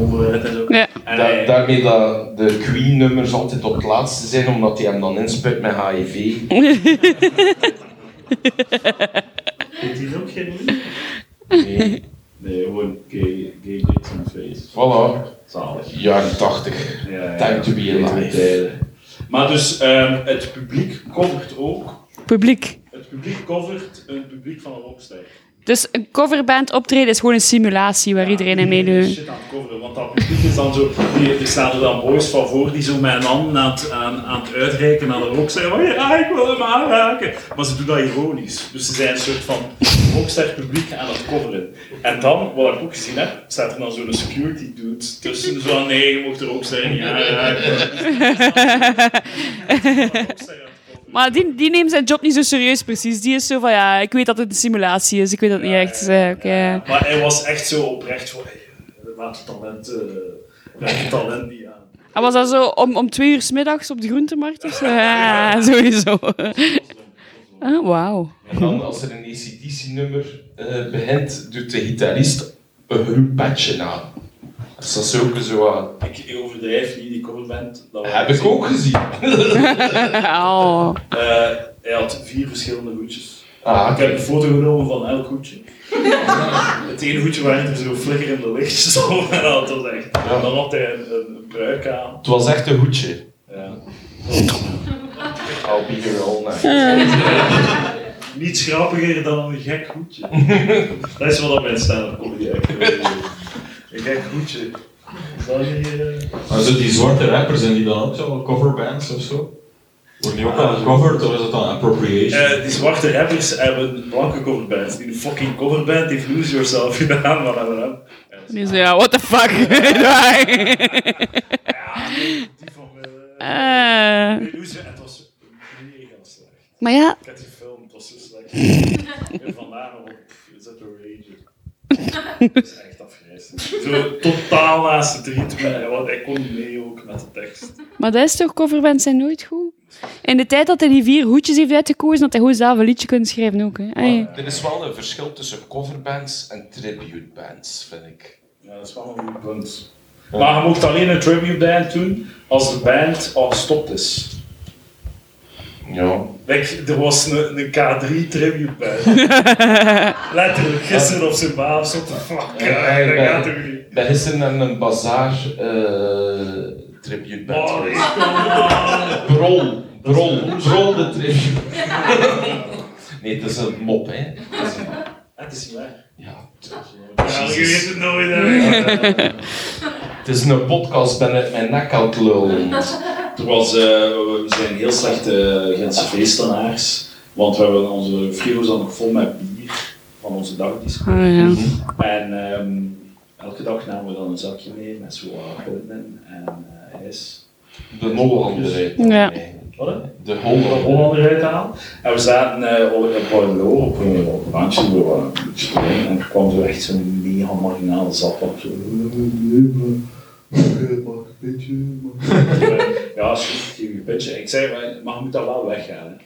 S1: overheid en zo.
S3: Ja.
S1: En
S2: Da-
S1: hij-
S2: daarmee dat de Queen-nummers altijd op het laatste zijn, omdat hij hem dan insput met HIV.
S1: Heet die ook geen nieuw?
S2: Nee.
S1: Nee, gewoon gay, gay dicks in face.
S2: Voilà,
S1: Zalig.
S2: jaren 80.
S1: Ja, ja,
S2: Time to be
S1: betere
S2: alive.
S1: tijden. Maar dus, ehm, het publiek covert ook.
S3: Publiek.
S1: Het publiek covert een publiek van een rockster.
S3: Dus een coverband optreden is gewoon een simulatie waar iedereen in
S1: is
S3: meedoet.
S1: shit aan het coveren, want dat publiek is dan zo... Die, er staan er dan boys van voor die zo met een hand aan het, aan, aan het uitreiken aan de rockster. Van, ja, ik wil hem aanraken. Maar ze doen dat ironisch. Dus ze zijn een soort van rockster publiek aan het coveren. En dan, wat ik ook gezien heb, staat er dan zo'n security dude tussen. Zo van, nee, je mocht de rockster niet aanraken. Rockster aan het coveren.
S3: Maar die, die neemt zijn job niet zo serieus, precies. Die is zo van, ja, ik weet dat het een simulatie is. Ik weet dat niet echt. Eh, oké.
S1: Maar hij was echt zo oprecht van, hey, laat het talent, eh, laat het talent niet aan.
S3: En was dat zo om, om twee uur 's middags op de groentemarkt of zo? Ja, sowieso. Ah, Wauw.
S2: En dan, als er een ACDC-nummer eh begint, doet de gitarist een groepetje na. Dus dat is ook zo aan.
S1: Ik overdrijf niet, die coverband. Dat was-
S2: Heb ik ook gezien.
S3: Oh.
S1: Eh, hij had vier verschillende hoedjes.
S2: Ah,
S1: Ik heb een foto genomen van elk hoedje. Het ene hoedje waren er zo flikkerende lichtjes op. En dat was echt. En dan had hij een, een, een pruik aan.
S2: Het was echt een hoedje.
S1: Ja.
S2: I'll be here all night.
S1: Niets grappiger dan een gek hoedje. dat is wat mensen staan op comedy act. Een gek hoedje. Is dat niet... eh,
S4: Maar zo die zwarte rappers, zijn die dan ook zo coverbands of zo? Worden die ook wel gecoverd of is dat dan appropriation?
S1: Eh, die zwarte rappers hebben blanke coverbands. Die fucking coverband heeft Lose Yourself gedaan, maar hebben hem.
S3: Die zo, ja, what the fuck.
S1: Die van. eh,
S3: Eh,
S1: Lose, het was mega slecht.
S3: maar ja,
S1: Ik heb die film, het was zo slecht. en vandaar nog, pff, is dat een rage? Dat is echt afgrijzelijk. Zo totaal naast het ritme, want hij kon niet mee ook met de tekst.
S3: maar dat is toch, coverbands zijn nooit goed? In de tijd dat hij die vier hoedjes heeft uitgekozen, had hij gewoon zelf een liedje kunnen schrijven ook. Hè? Ai.
S2: Er is wel een verschil tussen coverbands en tribute bands, vind ik.
S1: Ja, dat is wel een goed punt. Maar je mocht alleen een tribute band doen als de band al gestopt is.
S2: Ja.
S1: Like, er was een, een K3 tribute band. Letterlijk, gisteren op zijn baan stond de fuck.
S2: Ja,
S1: Ja, dat
S2: ja.
S1: gaat toch niet.
S2: Ik ben gisteren aan een bazaar eh tribute band
S1: Oh, nee,
S2: geweest.
S1: kom aan.
S2: Brol, brol, brol de tribute. nee, het is een mop, hè. Het is een-
S1: Het is niet waar.
S2: Ja, t-
S1: Ja, je weet het nooit. hè.
S2: het is een podcast, ben ik mijn nek aan het lullen.
S1: Er was, eh, we zijn heel slechte Gentse feestenaars, want we hebben onze frigo zat nog vol met bier van onze dagdisch.
S3: Ah, ja.
S1: En ehm, elke dag namen we dan een zakje mee met zo'n en eh, ijs.
S2: De Hollander uit.
S3: Ja.
S1: Wat? hè?
S2: De
S1: een
S2: Hollander.
S1: Hollander uithalen. En we zaten eh, op een Borneo, op een op een bankje, we waren een beetje alleen. En er kwam zo echt zo'n mega marginale zap op. Zo. "Eh, Ja, schiet je je pitje. Ik zei, maar- maar je moet dat wel weghalen.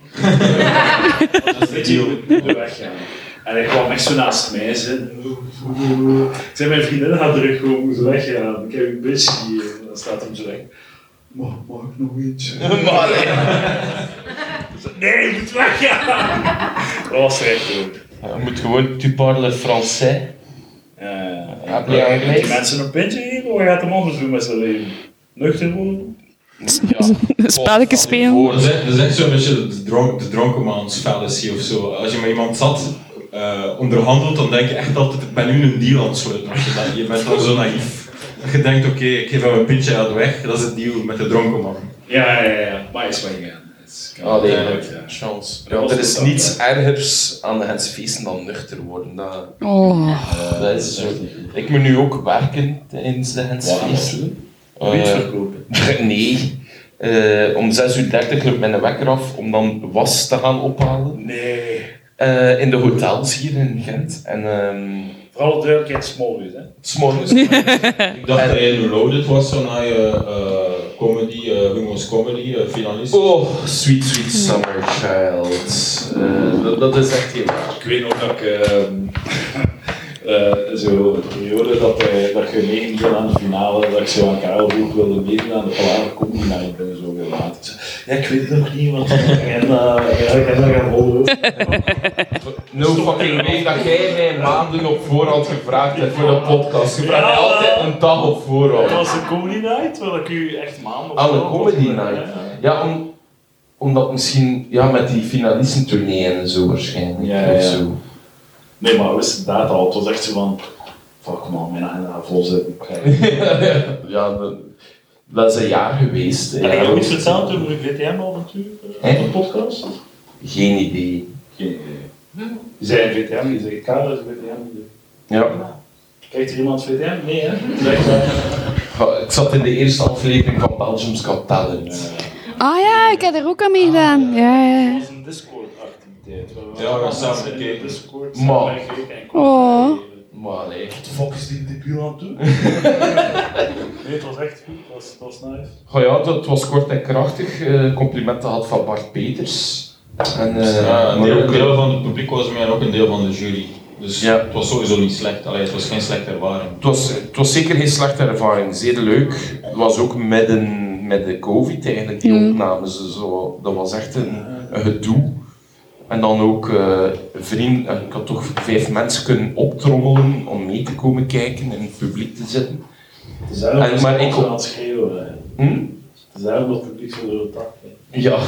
S1: Dat is je moet je weghalen. En hij kwam echt zo naast mij zitten. Ik zei, mijn vriendin had er gewoon moeten weggaan. Ik heb een bitch hier. En dan staat hem zo weg. Mag, mag ik nog iets? Nee, je moet weggaan. Dat was er echt goed.
S2: Je moet gewoon, tu parles français.
S1: Eh,
S2: Heb je
S1: Moet die
S2: Engels?
S1: mensen een pintje geven of gaat hem anders doen met zijn leven? Nuchter worden?
S3: Spelletjes spelen.
S4: Dat is echt- dat is echt zo'n beetje de, dronk, de dronken man's fallacy of zo. Als je met iemand zat eh, onderhandelt, dan denk je echt altijd: ik ben nu een deal aan het sluiten. Als je, dat, je bent dan zo naïef. Dat Je denkt: oké, ik geef hem een pintje uit de weg. Dat is het deal met de dronken man.
S1: Ja, ja, ja. Maar is wel gaan.
S2: Ah, nee,
S1: ja.
S2: ja. chance. Ja, er is niets ergers aan de Gentse feesten dan nuchter worden. Dat,
S3: Oh.
S2: dat is zo. Ik moet nu ook werken tijdens de Gentse
S1: Waarom?
S2: feesten.
S1: Niet
S2: Eh,
S1: verkopen.
S2: nee. Eh, om 6.30 uur lukt mijn wekker af om dan was te gaan ophalen.
S1: Nee.
S2: Eh, in de hotels hier in Gent. En ehm
S1: Vooral de duidelijkheid small is, hè.
S2: s'morgens.
S4: Ik dacht dat je reloaded was zo naar je eh, comedy, eh Humo's Comedy, eh, finalist.
S2: Oh, sweet, sweet summer child. Eh, dat, dat is echt heel raar.
S1: Ik weet nog dat ik ehm, eh, zo een periode dat, eh, dat ik genegen ben aan de finale, dat ik zo aan Karel vroeg wilde meedoen aan de palaver, kom niet naar, ik ben er zo weer laat. Ik zei, ja, ik weet het nog niet, want dan en, eh, ja, ik heb nog een rol.
S2: No fucking way dat jij mij maanden op voorhand gevraagd hebt voor een podcast. Je vraagt mij
S1: Ja.
S2: altijd een dag op
S1: Dat
S2: voorhand.
S1: was een comedy night, terwijl ik u echt maanden...
S2: Aan Ah, een comedy night. Ja, om, omdat misschien ja, met die finalistentournee en zo waarschijnlijk.
S1: Ja, ja,
S2: Of
S1: ja.
S2: zo.
S1: Nee, maar we wisten dat al. Het was echt zo van... Fuck man, mijn agenda vol zitten.
S2: ja, dat, dat is een jaar geweest.
S1: Heb
S2: ja.
S1: je ook iets verteld over uw VTM-avontuur?
S2: Hè?
S1: Een eh, podcast?
S2: Geen idee.
S1: Geen idee. Je zei een VTM, je zei Karel is een VTM.
S2: Ja.
S1: Kijkt er iemand VTM? Nee, hè? Dat is echt-
S2: Ja, Ik zat in de eerste aflevering van Belgium's Got Talent.
S3: Ah ja, ik heb er ook aan meegedaan. Ja, ja.
S1: was een Discord-activiteit.
S4: Ja, we gaan samen
S1: kijken.
S4: kijken.
S1: Discord,
S2: Maar-
S1: samen kijken en
S3: Oh.
S1: content delen.
S2: Maar nee.
S1: Wat de fuck is die debiel aan het doen? nee, het was echt goed. Het was, het was nice.
S2: Goh Oh ja, dat was kort en krachtig. Eh, complimenten had van Bart Peters. En, eh,
S4: Ja, een
S2: maar
S4: deel, een
S2: ook,
S4: deel van het publiek was mij en ook een deel van de jury. Dus
S2: Ja.
S4: het was sowieso niet slecht. Allee, het was geen slechte ervaring.
S2: het, was, het was zeker geen slechte ervaring, zeer leuk. Het was ook midden met de COVID eigenlijk, die opnames. Dus zo, dat was echt een, een gedoe. En dan ook eh vriend, eh, ik had toch vijf mensen kunnen optrommelen om mee te komen kijken en in het publiek te zitten.
S1: Het is daarom
S2: En-
S1: dat
S2: maar
S1: ze
S2: ik-
S1: ons aan het schreeuwen. hè.
S2: Hm?
S1: Het is daarom dat het publiek zo door het dak ging.
S2: Ja,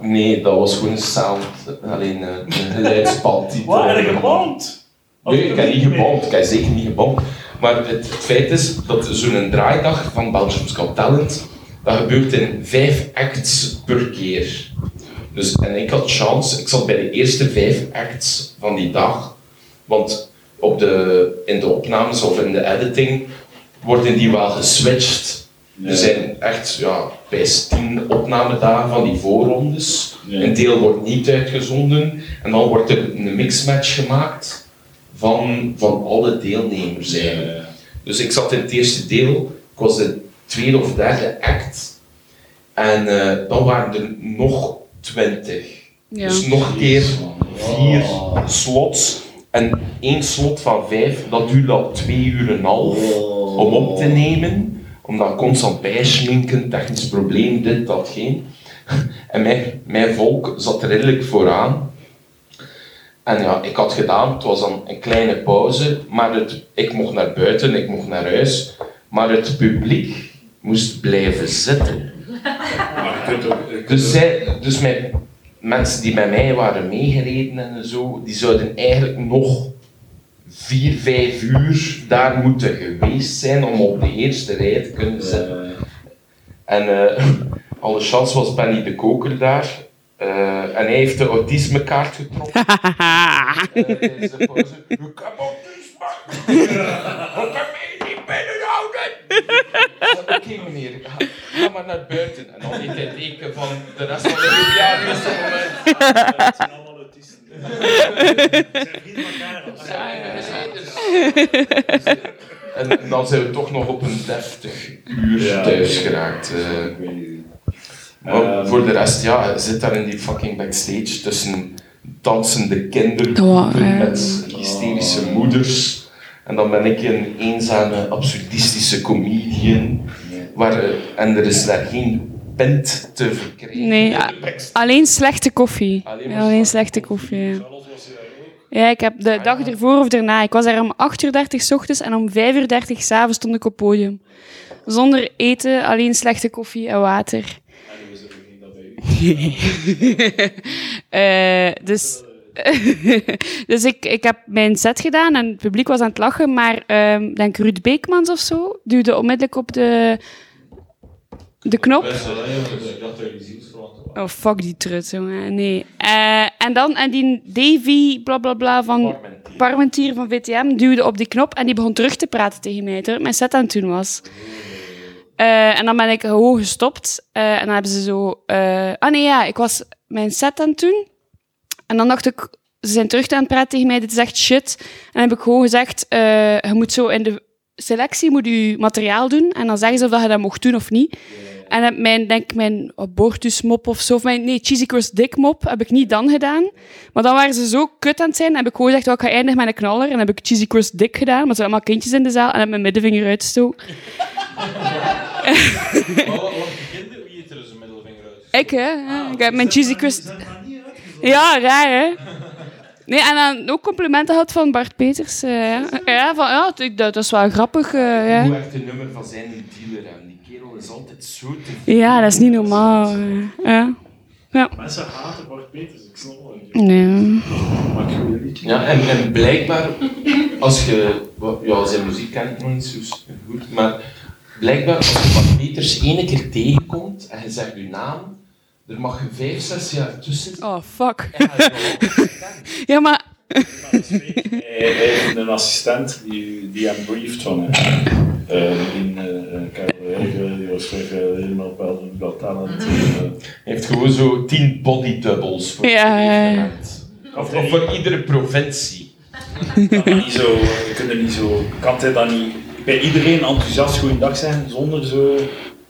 S2: nee, dat was gewoon een sound. Alleen eh, een geluidspad. die-
S1: Wat? Heb je geband?
S2: Nee, ik heb niet gebomd. Ik heb zeker niet gebomd. Maar het, het feit is dat zo'n draaidag van Belgium's Got Talent, dat gebeurt in vijf acts per keer. Dus, en ik had chance, ik zat bij de eerste vijf acts van die dag. Want op de, in de opnames of in de editing worden die wel geswitcht. Er zijn echt ja, bij tien opnamedagen van die voorrondes.
S1: Ja.
S2: Een deel wordt niet uitgezonden. En dan wordt er een mixmatch gemaakt van, van alle deelnemers eigenlijk. Dus ik zat in het eerste deel, ik was de tweede of derde act. En eh, dan waren er nog twintig. Dus nog een keer vier slots. En één slot van vijf, dat duurde al twee uur en half om op te nemen. Omdat constant bijschminken, technisch probleem, dit, dat, geen. En mijn, mijn volk zat redelijk vooraan. En ja, ik had gedaan, het was dan een kleine pauze, maar het, ik mocht naar buiten, ik mocht naar huis. Maar het publiek moest blijven zitten. Dus, zij, dus mijn, mensen die met mij waren meegereden en zo, die zouden eigenlijk nog vier, vijf uur daar moeten geweest zijn om op de eerste rij te kunnen zitten. En eh, alle chance was Benny de Koker daar. Eh, en hij heeft de autismekaart getrokken. eh, tijdens de pauze. Ik heb autisme! Ik kan mij niet binnenhouden! Ik zei, Oké meneer, ga, ga maar naar buiten. En dan deed hij teken van de rest van de groep, ja, rustig moment.
S1: Het zijn allemaal autisten. Het zijn vrienden van Karel.
S2: En dan zijn we toch nog op een deftig uur
S1: Ja.
S2: thuis geraakt. eh. maar
S1: Ehm.
S2: voor de rest, ja, hij zit daar in die fucking backstage tussen dansende kinderen
S3: Dat waar,
S2: met hysterische moeders. En dan ben ik een eenzame, absurdistische comedian. Waar, eh, en er is daar geen pint te verkrijgen.
S3: Nee,
S2: in de
S3: a-
S2: backstage.
S3: Alleen slechte koffie.
S2: Alleen
S3: Alleen,
S2: maar
S3: slechte koffie. ja. Ah, Ja, ik heb de dag ervoor of daarna. Ik was daar om 8.30 uur s ochtends en om 5.30 uur s'avonds stond ik op het podium. Zonder eten, alleen slechte koffie en water. Eh, dus dus ik, ik heb mijn set gedaan en het publiek was aan het lachen, maar ehm denk Ruud Beekmans of zo duwde onmiddellijk op de, de knop.
S4: Best wel, hè, jongens. Ik dacht dat jullie zielsverwant waren.
S3: Oh, fuck die trut, jongen. Nee. Eh, en dan, en die Davy, bla bla bla, van Parmentier, van VTM, duwde op die knop en die begon terug te praten tegen mij, terwijl ik mijn set aan het doen was. Eh, en dan ben ik gewoon gestopt. eh, en dan hebben ze zo... eh, ah nee, ja, ik was mijn set aan het doen. En dan dacht ik, ze zijn terug aan het praten tegen mij, dit is echt shit. En dan heb ik gewoon gezegd, eh, je moet zo in de selectie moet je materiaal doen. En dan zeggen ze of dat je dat mocht doen of niet. En heb mijn, denk ik, mijn abortusmop of zo, of mijn, nee, Cheesy Crust Dick mop, heb ik niet dan gedaan. Maar dan waren ze zo kut aan het zijn, heb ik gewoon gezegd, oh, ik ga eindigen met een knaller. En dan heb ik Cheesy Crust Dick gedaan, want er waren allemaal kindjes in de zaal, en heb mijn middenvinger uitgestoken.
S4: Maar wat- wat kinderen, wie heeft er zijn middelvinger uit?
S3: Ik, hè? ja, ik heb mijn Cheesy Crust... Ja, raar, hè? Nee, en dan ook complimenten had van Bart Peters. eh, ja. ja, van ja, dat, dat is wel grappig. eh,
S2: Hoe
S3: ja.
S2: werkt het nummer van zijn dealer aan? Die kerel is altijd zo te...
S3: ja, dat is niet normaal. eh. Ja.
S1: Mensen haten Bart Peters, ik snap het niet.
S3: Nee.
S1: Maar ik wil niet.
S2: Ja, en, en blijkbaar, als je... wa- Ja, zijn muziek ken ik nog niet zo s- goed, maar blijkbaar als je Bart Peters ene keer tegenkomt en je zegt je naam, er mag je vijf, zes jaar tussen zitten.
S3: Oh, fuck.
S2: En hij is al-
S3: Ja, maar
S1: Hij hij heeft een assistent die, die hem brieft van eh, eh, in Carolijn, die was weg, eh, helemaal wel een blad talent. eh,
S2: Hij heeft gewoon zo tien body doubles voor
S3: Ja,
S2: ieder
S3: ja, ja.
S2: evenement.
S1: Of
S2: Of,
S1: hij
S2: of voor iedere provincie.
S1: kan dat niet zo, je kunt er niet zo, kan hij dan niet bij iedereen enthousiast goeiedag zijn zonder zo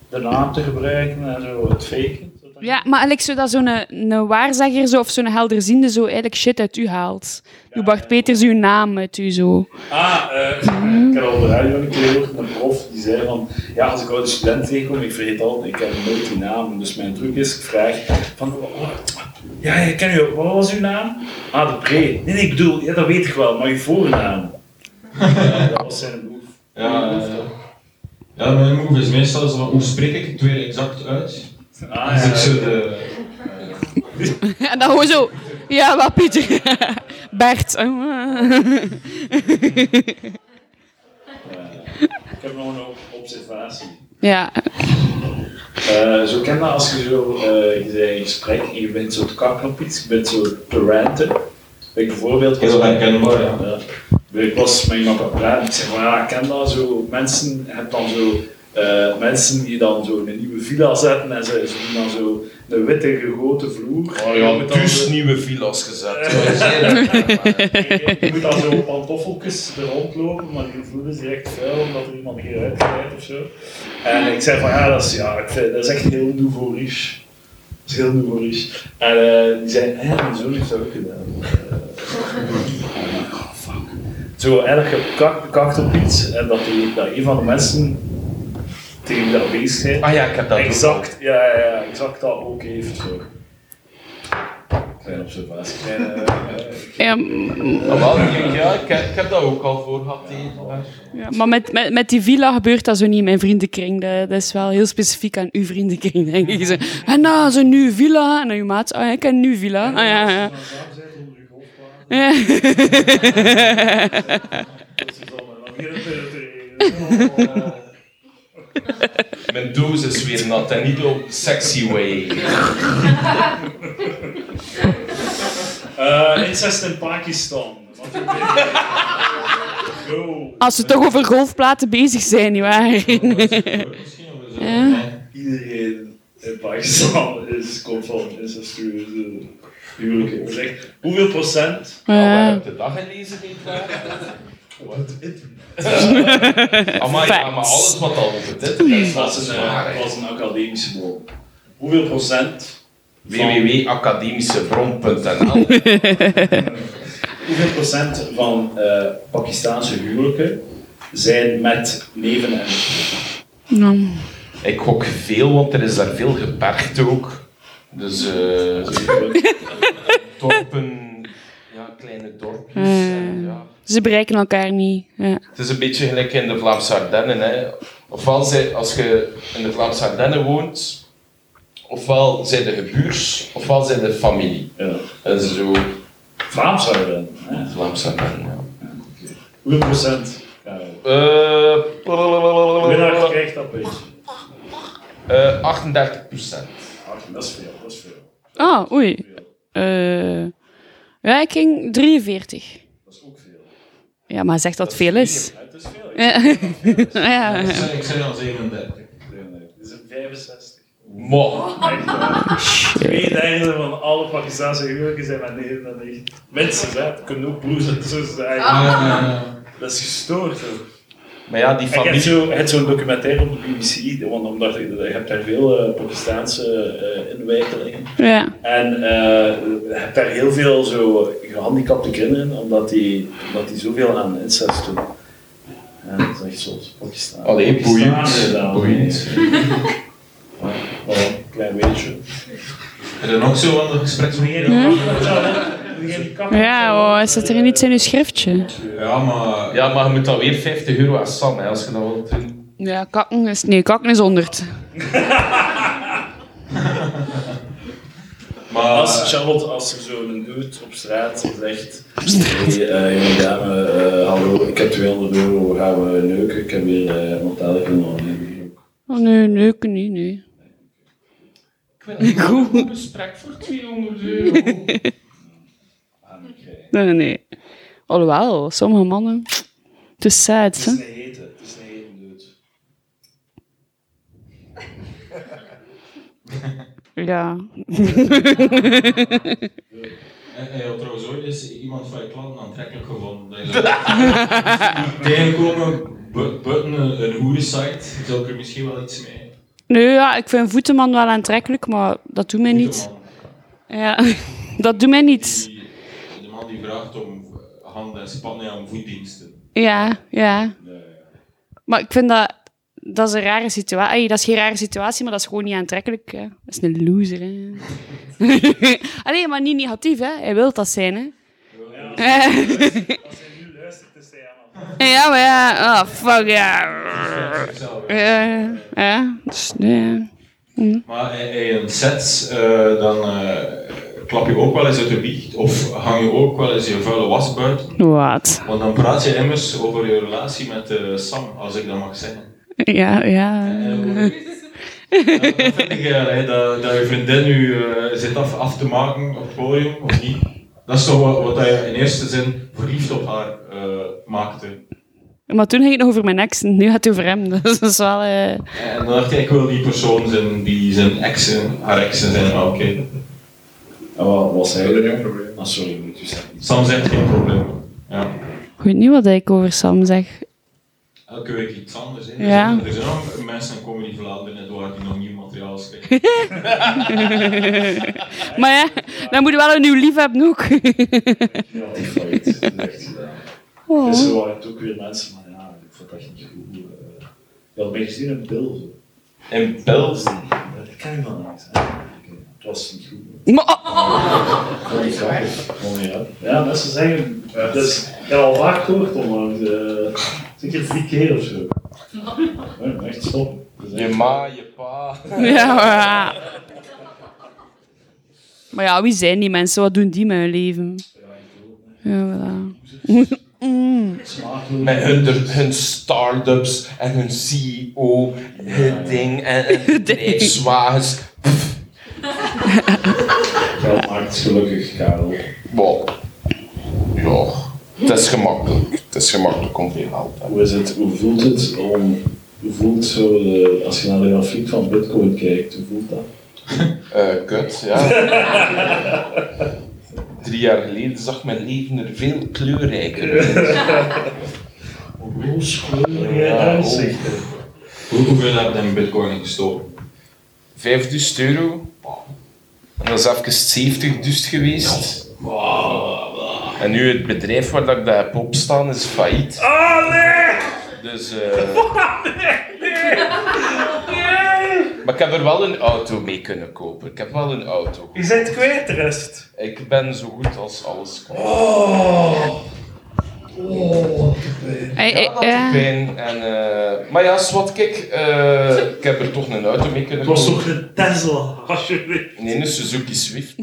S1: de naam te gebruiken en zo het faken. zodat-
S3: Ja, maar eigenlijk zo dat zo'n eh, een waarzegger zo, of zo'n helderziende zo eigenlijk shit uit u haalt. Uw Bart Peters, uw naam uit u zo.
S1: Ah, eh, ik heb al de radio een keer gehoord, een prof die zei van, ja, als ik oude studenten tegenkom, ik vergeet altijd, ik heb nooit die naam, dus mijn truc is, ik vraag van, oh, ja, ik ken u, wat was uw naam? Ah, de pre. Nee, nee, ik bedoel, ja, dat weet ik wel, maar uw voornaam. Ja, dat was zijn boef.
S4: Ja, eh, ja, mijn move is meestal zo van, hoe spreek ik het weer exact uit?
S1: Ah,
S4: Als Dus
S1: ja.
S4: ik zo de...
S3: En dan gewoon zo... Ja, wat Pieter? Bert. Oh.
S1: Ik heb nog een o- observatie.
S3: Ja.
S1: Eh, zo ken dat als je zo eh, je bent in gesprek en je bent zo te kakken op iets, je bent zo te ranten. Ik bijvoorbeeld
S4: Heel herkenbaar, ja.
S1: Ja. Ik was met iemand aan het praten, ik zei van ja, ik ken dat zo. Mensen hebben dan zo, eh, mensen die dan zo een nieuwe villa zetten en ze ze doen dan zo een witte gegoten vloer.
S2: Oh
S1: Je
S2: ja,
S1: moet dan
S2: dus
S1: zo-
S2: nieuwe villa's gezet.
S1: Je moet dan zo pantoffeltjes er rondlopen, maar die vloer is direct vuil omdat er iemand hier uitgeleid of zo. En ik zei van ja, dat is, ja, ik vind- dat is echt heel nouveau riche. Dat is heel nouveau riche. En eh, die zei, hé, mijn zoon heeft dat ook gedaan. Eh, en ik, oh, fuck. Zo erg gekakt op iets en dat, die, dat een van de mensen tegen wie dat bezig zijn,
S2: Ah ja, ik heb dat ook
S1: exact, ja, ja, ja, exact dat ook heeft. Zo. Kleine observatie. Kleine, eh,
S3: Ja, m-
S2: al. Ah, wel, ik- ja, ik, heb- ik heb dat ook al voor gehad. die-
S3: ja, maar met, met, met die villa gebeurt dat zo niet in mijn vriendenkring. Dat, dat is wel heel specifiek aan uw vriendenkring, denk ik. Zo, En nou, zo'n nieuwe villa. En dan uw maat, oh ja, ik ken een nieuwe villa. Ah ja, ja. ja.
S2: Mijn doos is weer nat en niet op sexy way.
S1: Eh, incest in Pakistan. Wat een beetje. Yo.
S3: Als we toch over golfplaten bezig zijn, nietwaar?
S4: Misschien of zo.
S3: Ja.
S4: Nee.
S1: Iedereen in Pakistan is, komt van incestueuze huwelijken. Dat eh, is echt- Hoeveel procent?
S2: Ah, waar
S3: Ja.
S2: heb je dat gelezen, die vraag? Amai,
S3: Facts.
S2: ja, maar alles wat al op het internet
S1: Dat was
S2: staat is
S1: een,
S2: waar.
S1: eh,
S2: hè.
S1: was een academische bron. Hoeveel procent?
S2: www.academischebron.nl
S1: Hoeveel procent van eh Pakistaanse huwelijken zijn met leven en
S3: Nou,
S2: Ik gok veel, want er is daar veel gebergd ook. Dus eh dorpen, ja, kleine dorpjes. en ja.
S3: Ze bereiken elkaar niet. Ja.
S2: Het is een beetje gelijk in de Vlaamse Ardennen. Hè. Ofwel, zij, als je in de Vlaamse Ardennen woont, ofwel zijn de buurs, ofwel zijn de familie.
S1: ja.
S2: Dat is zo
S1: Vlaams zouden. hè?
S2: Vlaamse Ardennen, ja.
S1: Hoeveel procent? Ja,
S2: Eh,
S1: Winnaar krijgt dat beetje.
S2: eh, 38 procent.
S1: Ach, Ah, dat is veel, dat is veel.
S3: Ah, oei. Eh, ja, ik ging 43.
S1: Dat is ook veel.
S3: Ja, maar zegt dat veel is?
S1: Het is veel.
S3: Ja. ja.
S4: Ik zei- Ik zei al 37.
S1: Het is een 65.
S2: Mo,
S1: Echt waar. Twee derde van alle Pakistanse huwelijken zijn met 99. Mensen, hè. Het kunnen ook broers en zussen zijn.
S3: Ah.
S1: Dat is gestoord, hoor.
S2: Maar ja, die
S1: Ik heb
S2: familie...
S1: zo- ik heb zo'n documentaire op de BBC, want omdat je, je hebt daar veel eh, Pakistaanse eh inwijkelingen.
S3: ja.
S1: En eh, je hebt daar heel veel zo gehandicapte kinderen, omdat die, omdat die zoveel aan incest doen. Ja, dat is echt zot. Pakistan.
S2: Allee,
S1: Pakistan
S2: boeiend.
S1: gedaan.
S2: Boeiend.
S1: Ja, wel, een klein beetje.
S4: En dan ook zo van de gespreksvoering.
S1: Ja,
S3: Hm? Ja, oh, zit er niets in uw schriftje?
S4: Ja, maar...
S2: Ja, maar je moet dan weer 50 euro aan Sam, hè, als je dat wilt doen.
S3: Ja, kakken is... Nee, kakken is 100.
S4: maar
S1: Als Charlotte, als er zo'n dude op straat zegt: Hey, eh, jonge dame, eh, hallo, ik heb 200 euro, gaan we neuken? Ik heb weer eh montade genomen.
S3: Oh, nee, neuken niet, nee.
S2: Een gesprek voor 200 euro.
S3: Nee, nee. Alhoewel, sommige mannen... Het is sad, hè?
S1: Het is een hete, het is een hete dude.
S3: Ja.
S4: Hij had trouwens ooit eens iemand van je klant aantrekkelijk gevonden. Dat je zo- Tegenkomen, bu- buiten een, een hoerensite, zou ik er misschien wel iets mee.
S3: Nee, ja, ik vind voetenman wel aantrekkelijk, maar dat doet mij
S4: De
S3: niet.
S4: man
S3: Ja, dat doet mij niet.
S4: die, de man die vraagt om handen en spannen aan voetdiensten.
S3: Ja, ja. Maar ik vind dat... Dat is een rare situatie. Dat is geen rare situatie, maar dat is gewoon niet aantrekkelijk. Hè. Dat is een loser, hè. Allee, maar niet negatief, hè. Hij wil dat zijn, hè.
S1: Als hij nu luistert, is hij aan
S3: ja, maar ja. Oh, fuck, ja.
S4: Zelf.
S3: Ja, ja. Dus, nee,
S4: Maar in- in sets, eh, dan eh, klap je ook wel eens uit de wieg of hang je ook wel eens je vuile was buiten.
S3: ja. Wat?
S4: Want dan praat je immers over je relatie met eh, Sam, als ik dat mag zeggen.
S3: Ja, ja.
S4: Eh, over- Ja, dat vind ik, eh, hè, dat, dat je vriendin nu eh, zit af, af te maken op het podium, of niet. Dat is toch wat, wat je in eerste zin verliefd op haar eh, maakte.
S3: Maar toen ging het nog over mijn ex, en nu gaat het over hem. Dus dat is wel... eh,
S4: En dan dacht ik, ik wil die persoon zijn die zijn exen, haar exen zijn, maar oké.
S1: En wat was hij er nu probleem? Ah, sorry, moet u zeggen.
S4: Sam zegt geen probleem. Ja.
S3: Ik weet niet wat ik over Sam zeg.
S4: Elke week iets anders. Hè.
S3: Ja.
S4: Er, zijn, er zijn ook mensen in Comedy Vlaanderen en waar die nog nieuw materiaal schrijven.
S3: Maar ja, dan moet je wel een nieuw lief hebben ook.
S1: Ja, die fight, echt gedaan.
S3: Oh.
S1: Dus er waren het ook weer mensen van, ja, ik vond dat echt niet goed. eh. Je had mij gezien in Bilzen.
S2: In België.
S1: Dat kan je wel niet zijn. Het was niet goed.
S3: Maar, oh,
S1: Gewoon niet grappig. Gewoon niet, hè. Ja, mensen zeggen, dat is ik heb al vaak gehoord onlangs. eh, Zeker drie keer of zo. Nee, maar echt Dus, eh, stop.
S2: Je ma, je pa.
S3: ja, maar, ja. maar ja, wie zijn die mensen? Wat doen die met hun leven? Ja, voilà.
S1: Smaakloos.
S2: Met hun, der- hun start-ups en hun CEO, hun ding en, en bedrijfswagens.
S1: Geld maakt het gelukkig, Karel.
S2: Wow. Ja, het is gemakkelijk. Het is gemakkelijk om veel geld te hebben.
S1: Hoe, is het, hoe voelt het om... Hoe voelt zo de, als je naar de grafiek van Bitcoin kijkt, hoe voelt dat?
S2: Eh, kut, ja. Drie jaar geleden zag mijn leven er veel kleurrijker uit.
S1: Hoe schoon
S2: Ja, oh.
S4: Hoe, hoeveel heb je in bitcoin gestoken?
S2: 5000 euro. En dat is even 70 dus geweest. En nu het bedrijf waar dat ik dat heb opstaan is failliet. Oh nee! Dus eh. Maar ik heb er wel een auto mee kunnen kopen. Ik heb wel een auto.
S1: Je bent kwijt de rest.
S2: Ik ben zo goed als alles kwijt.
S3: Hey, hey,
S2: Dat
S3: ja.
S2: ik ben en, eh, maar ja, zwart, kijk, eh, ik heb er toch een auto mee kunnen
S1: Het was
S2: kopen.
S1: toch een Tesla, alsjeblieft.
S2: Nee, een Suzuki Swift.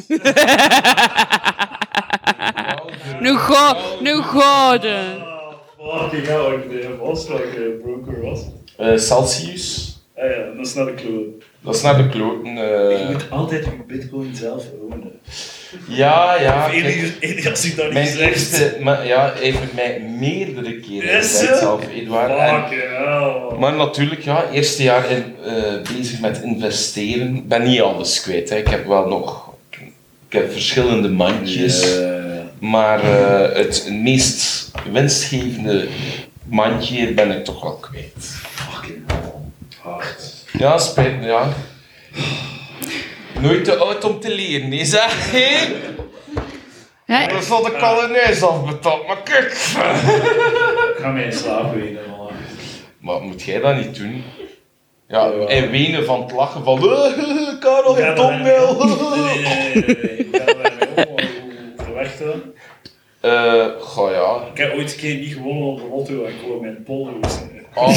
S3: Nu god, nu goden.
S1: Ah, fucking hell, ik de Volkswagen broker was.
S2: Eh, Celsius.
S1: Ah ja, dat is naar de kloot.
S2: Dat is naar de kloten.
S1: Je
S2: eh.
S1: moet altijd je bitcoin zelf ownen.
S2: ja, ja.
S1: Of
S2: kijk,
S1: enig, enig als ik dat niet
S2: mijn
S1: zeg.
S2: eerste, maar ja, hij heeft mij meerdere keren
S1: Is
S2: gezegd
S1: ze? Ah.
S2: zelf, Edouard. En-
S1: Fucking hell.
S2: maar natuurlijk, ja, eerste jaar in, eh, bezig met investeren. Ik ben niet alles kwijt. Hè. Ik heb wel nog... Ik heb verschillende mandjes. Maar eh, het meest winstgevende mandje ben ik toch wel kwijt.
S1: Fucking hell. Hard.
S2: Ja, spijt me, ja. Nooit te oud om te leren, nee zeg. Hé?
S3: Hey,
S2: Dat zal de kaloneus afbetaald, maar kijk.
S1: Ik ga mij in slaap wenen, man.
S2: Maar moet jij dat niet doen? Ja,
S1: Ja.
S2: en wenen van het lachen van... "Eh, Karel, je
S1: Ja, maar-
S2: domwil.
S1: Nee, nee, nee, nee, nee. Ik ga daarmee om, maar hoe verwacht dat?
S2: Eh, goh ja.
S5: Ik heb ooit een keer niet gewonnen op de lotto en ik wou mijn pollo's. hè.
S2: Oh.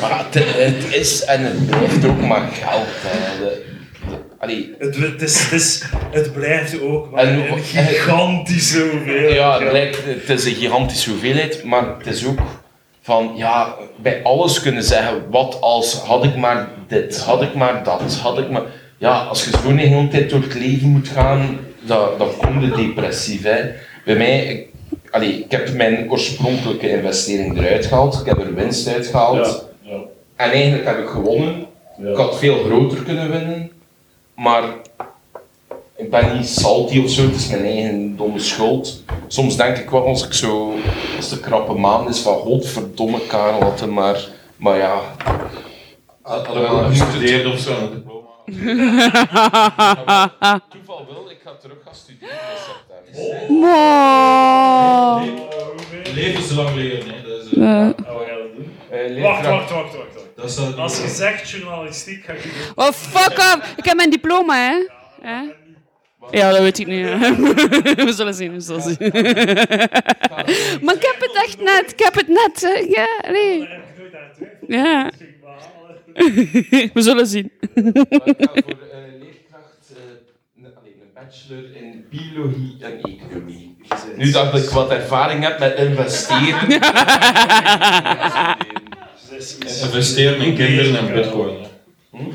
S2: maar het, het is en het blijft ook maar geld. Hè. De, de- allee,
S5: Het, het, is, het, is, het blijft ook maar
S2: En-
S5: een gigantische hoeveelheid.
S2: ja, het,
S5: geld.
S2: lijkt, het is een gigantische hoeveelheid, maar het is ook van ja, bij alles kunnen zeggen: wat als had ik maar dit, had ik maar dat, had ik maar. Ja, als je zo de hele tijd door het leven moet gaan, dan, dan kom je depressief. Hè. Bij mij, ik, allee, ik heb mijn oorspronkelijke investering eruit gehaald, ik heb er winst uit gehaald.
S5: Ja, ja,
S2: En eigenlijk heb ik gewonnen.
S5: ja.
S2: Ik had veel groter kunnen winnen. Maar ik ben niet salty of zo. Het is mijn eigen domme schuld. Soms denk ik wel als ik zo, als de krappe maand is, van godverdomme Karel had hem maar. Maar ja,
S4: Had
S2: wel
S4: wel gestudeerd of zo.
S2: toeval wil, ik ga terug gaan studeren in september.
S4: Oh.
S3: Wow.
S5: Oh,
S4: Levenslang leren, hè. Dat is, eh,
S3: Eh,
S5: En wat gaan we doen?
S2: Eh,
S5: Oh, Wacht,
S2: leerkracht-
S5: wacht, wacht, wacht. wacht.
S4: dat eh, staat
S5: Als je zegt journalistiek, ga ik niet
S3: Oh, fuck off. Ik heb mijn diploma, hè? Hè? Ja, dat weet ik niet. hè. We zullen zien, we zullen zien. Maar ik heb het echt net, ik heb het net. hè. Ja, nee.
S5: Daar heb ik nooit aan getwijfeld.
S3: Ja,
S5: Dus ik behalen.
S3: we zullen zien.
S2: Maar ik ga voor eh, leerkracht eh, een- allee, een bachelor in biologie en economie. Nu dat ik wat ervaring heb met investeren.
S5: Zes is-
S4: Investeren in kinderen en bitcoin. hè.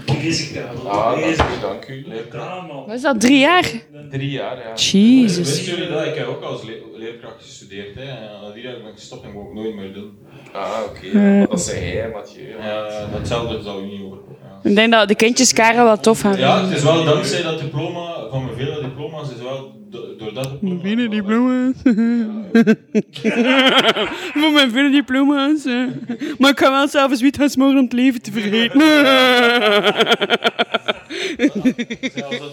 S5: Bezig daar,
S2: Ah, dank
S5: bezig
S2: u, dank u. Leerkracht.
S5: daar, man.
S3: Wat is dat, drie jaar?
S2: Drie jaar, ja.
S3: Jezus.
S4: Wisten jullie dat? Ik heb ook als le- leerkracht gestudeerd. Hè. En na die jaar ben ik gestopt en wou ik nooit meer doen.
S2: Ah, oké. ja. Dat zei hij, Mathieu.
S4: Ja, datzelfde zou ik niet overkomen. Ja.
S3: Ik denk dat de kindjes Karel wel tof gaan.
S4: Ja, het is wel dankzij dat diploma, van mijn vele diploma's, is wel do- door dat diploma...
S3: Binnen diploma's. Voor mijn binnen diploma's. hè. Maar ik ga wel s'avonds wiet gaan smoren om het leven te vergeten.
S4: Zelfs dat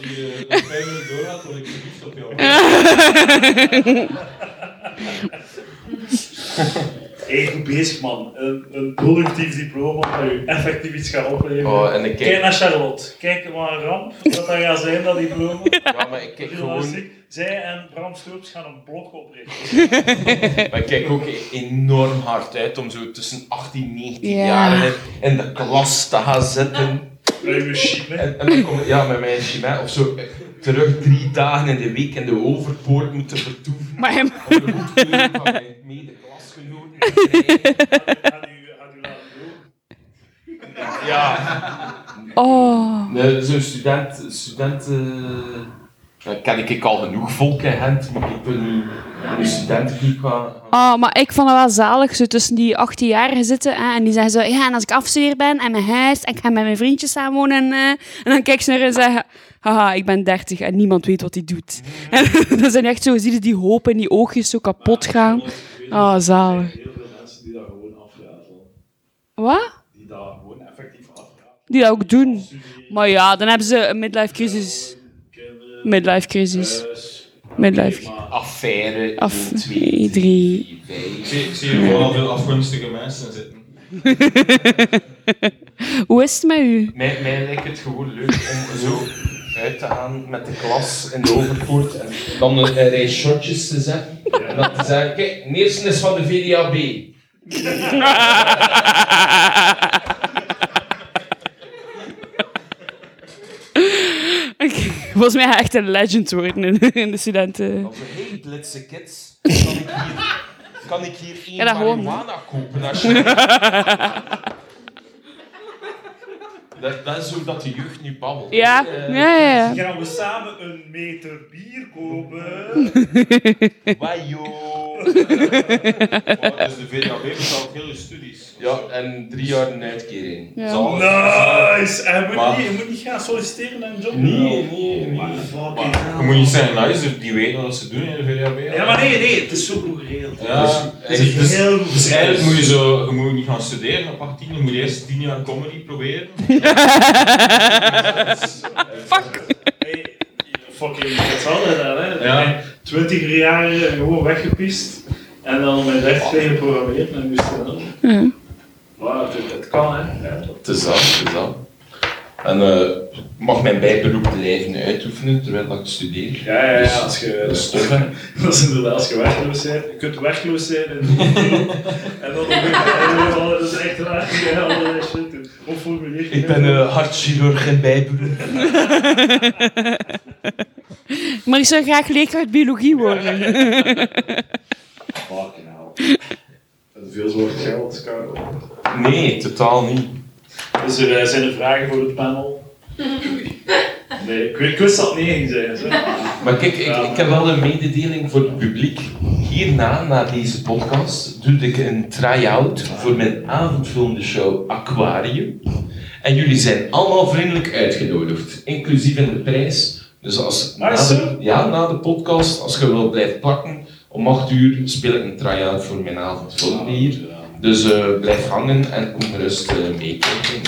S4: je nog vijf minuten doorgaat, word ik verliefd op jou.
S5: Hey, goed bezig, man. Een, een productief diploma dat je effectief iets gaat opleveren.
S2: Oh, en ik
S5: Kijk
S2: kijk,
S5: naar Charlotte. Kijk maar aan Ram, wat dat gaat zijn, dat diploma.
S2: ja, maar ik kijk gewoon,
S5: Journalistiek. Zij en Bram Stoops gaan een blok oprichten.
S2: maar ik kijk ook enorm hard uit om zo tussen 18 en 19
S3: Ja.
S2: jaar in de klas te gaan zitten.
S5: Bij uw chimie.
S2: En, en dan kom ik, ja, met mijn chimé of zo, eh, terug drie dagen in de week in de overpoort moeten vertoeven.
S3: Maar hem...
S2: Om de goedkeuring van mijn medeklasgenoten te krijgen.
S5: Gaat u, gaat u laten doen.
S2: Ja,
S3: Oh.
S2: eh, zo'n student, student eh, daar ken ik al genoeg volk in Gent, maar ik ben nu een student gaan...
S3: oh, maar ik vond het wel zalig, zo tussen die 18-jarigen zitten. Hè, en die zeggen zo, ja, en als ik afgestudeerd ben en mijn huis, en ik ga met mijn vriendjes samenwonen. En, eh, en dan kijk ze naar haar en zeggen, haha, ik ben 30 en niemand weet wat hij doet. En dan zijn echt zo, zie je die hoop in die oogjes zo kapot gaan. Oh, zalig.
S5: Heel veel mensen die dat gewoon afrazen.
S3: Wat?
S5: Die dat gewoon effectief afrazen.
S3: Die dat ook doen.
S5: Studie,
S3: Maar ja, dan hebben ze een midlife crisis.
S5: kinderen,
S3: Midlife crisis.
S5: huis.
S3: Midlife.
S2: Affaire
S3: Af-
S2: 1, 2,
S3: drie.
S2: 3, 5.
S4: Ik zie, ik zie hier gewoon al veel afgunstige mensen zitten.
S3: Hoe is het met u?
S2: Mij, mij lijkt het gewoon leuk om zo uit te gaan met de klas in de overpoort en dan een, een rij shotjes te zetten. En dan te zeggen, kijk, de eerste is van de VDAB.
S3: Oké, Volgens mij ga ik echt een legend worden in, in de studenten.
S2: Of hey, glitse kids, kan ik hier, kan ik hier één
S3: Ja, dat gewoon,
S2: marihuana kopen alsjeblieft? Dat, dat is hoe dat de jeugd nu babbelt.
S3: Ja,
S2: Eh,
S3: ja, ja. ja.
S5: Gaan we samen een meter bier kopen?
S2: Wajo.
S4: Maar Dus de VDAB betaalt heel je studies.
S2: Ja, en drie jaar een uitkering.
S3: Ja.
S2: Zalig.
S5: Nou. Nice! En je moet,
S4: Maar- Nou, oh,
S5: niet, je moet niet gaan solliciteren naar een job.
S2: Nee, nee, nee.
S5: Maar fuck it.
S4: Maar je moet niet zeggen, nou, is er- die weten wat ze doen in de VDAB.
S5: Ja, maar nee, nee, het is zo goed geregeld.
S4: Ja,
S2: Dus-
S4: dus, dus,
S5: heel goed.
S4: dus eigenlijk moet je, zo, je moet niet gaan studeren op 18, je moet eerst 10 jaar comedy proberen.
S5: Hey, fucking hetzelfde daar, hè?
S4: Ja.
S5: Twintiger jaren gewoon weggepist en dan met recht tegen programmeren en moest je dan. Maar het, het kan, hè? Ja.
S2: Het is dat, het is dat. En eh, ik mag mijn bijberoep blijven uitoefenen terwijl dat ik studeer. Dus
S5: Ja, ja, ja, als je...
S2: Dat is tof, hè?
S5: Dat is inderdaad, als je werkloos bent, je kunt werkloos zijn en, en dan en dan- dat is echt raar, je gaat allerlei shit doen. Of formulier.
S2: Ik ben eh, hartchirurg en bijberoep.
S3: Maar ik zou graag leerkracht biologie worden.
S5: Fucking hell. En Veel soort geld, Karel.
S2: Nee, totaal niet.
S5: Dus er eh, zijn er vragen voor het panel? Nee, ik, weet- ik wist dat het nee ging zijn. Zo.
S2: Maar kijk, ik, ik heb wel een mededeling voor het publiek. Hierna, na deze podcast, doe ik een try-out voor mijn avondvullende show Aquarium. En jullie zijn allemaal vriendelijk uitgenodigd, inclusief in de prijs. Dus als, na,
S5: Nice,
S2: de, ja, na de podcast, als je wil blijven plakken, om 8 uur speel ik een try-out voor mijn avondvullende hier. Dus eh, blijf hangen en kom gerust eh, meekijken.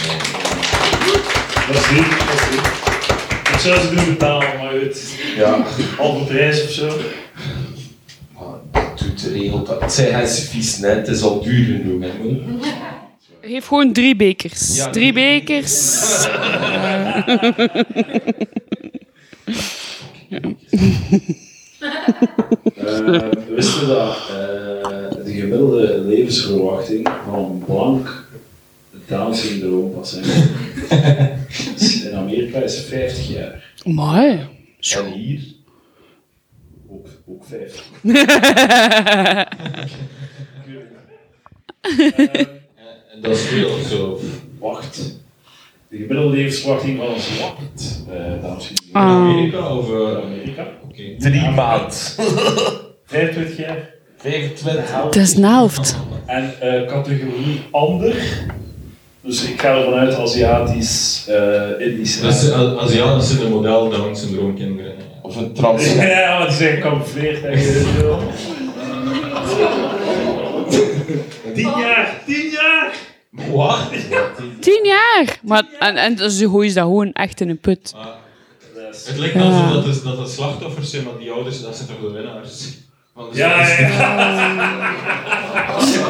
S5: Dat is niet, dat is niet. Ik zou ze doen betalen, maar uit
S2: Eh, ja.
S5: halve prijs of zo.
S2: Maar dat doet de regel dat. Het zijn geen vies, net, het is al duur genoeg. Hè. man.
S3: Geef gewoon drie bekers.
S2: Ja,
S3: drie
S2: drie
S3: bekers.
S5: Eh, we wisten dat eh, de gemiddelde levensverwachting van blank Down syndroompatiënten is Dus in Amerika is 50 jaar.
S3: Mooi.
S2: En hier
S5: Ook, ook 50. Eh,
S4: Dat is veel zo.
S5: wacht. De gemiddelde levensverwachting van een zwart eh Down syndroom
S3: Oh.
S4: Amerika of... eh,
S5: in Amerika.
S4: Oké.
S2: Drie maand.
S5: 25 jaar.
S2: 25.
S5: Help.
S3: Dat is de helft.
S5: En eh, categorie ander. Dus ik ga ervan uit Aziatisch, eh Indisch.
S4: Dat is- A- Dus, Aziaten zijn een model Down syndroom kinderen.
S2: Of een trans.
S5: Ja, want die zijn gecamoufleerd. hè, weet je wel. Tien jaar, tien jaar!
S4: Wat?
S3: Tien jaar! Maar, en, en dus gooien ze dat gewoon echt in een put.
S4: Het lijkt wel zo dat het, dat het slachtoffers zijn, maar die ouders, dat zijn toch de winnaars? Want dus
S5: Ja,
S4: dat is-
S5: ja,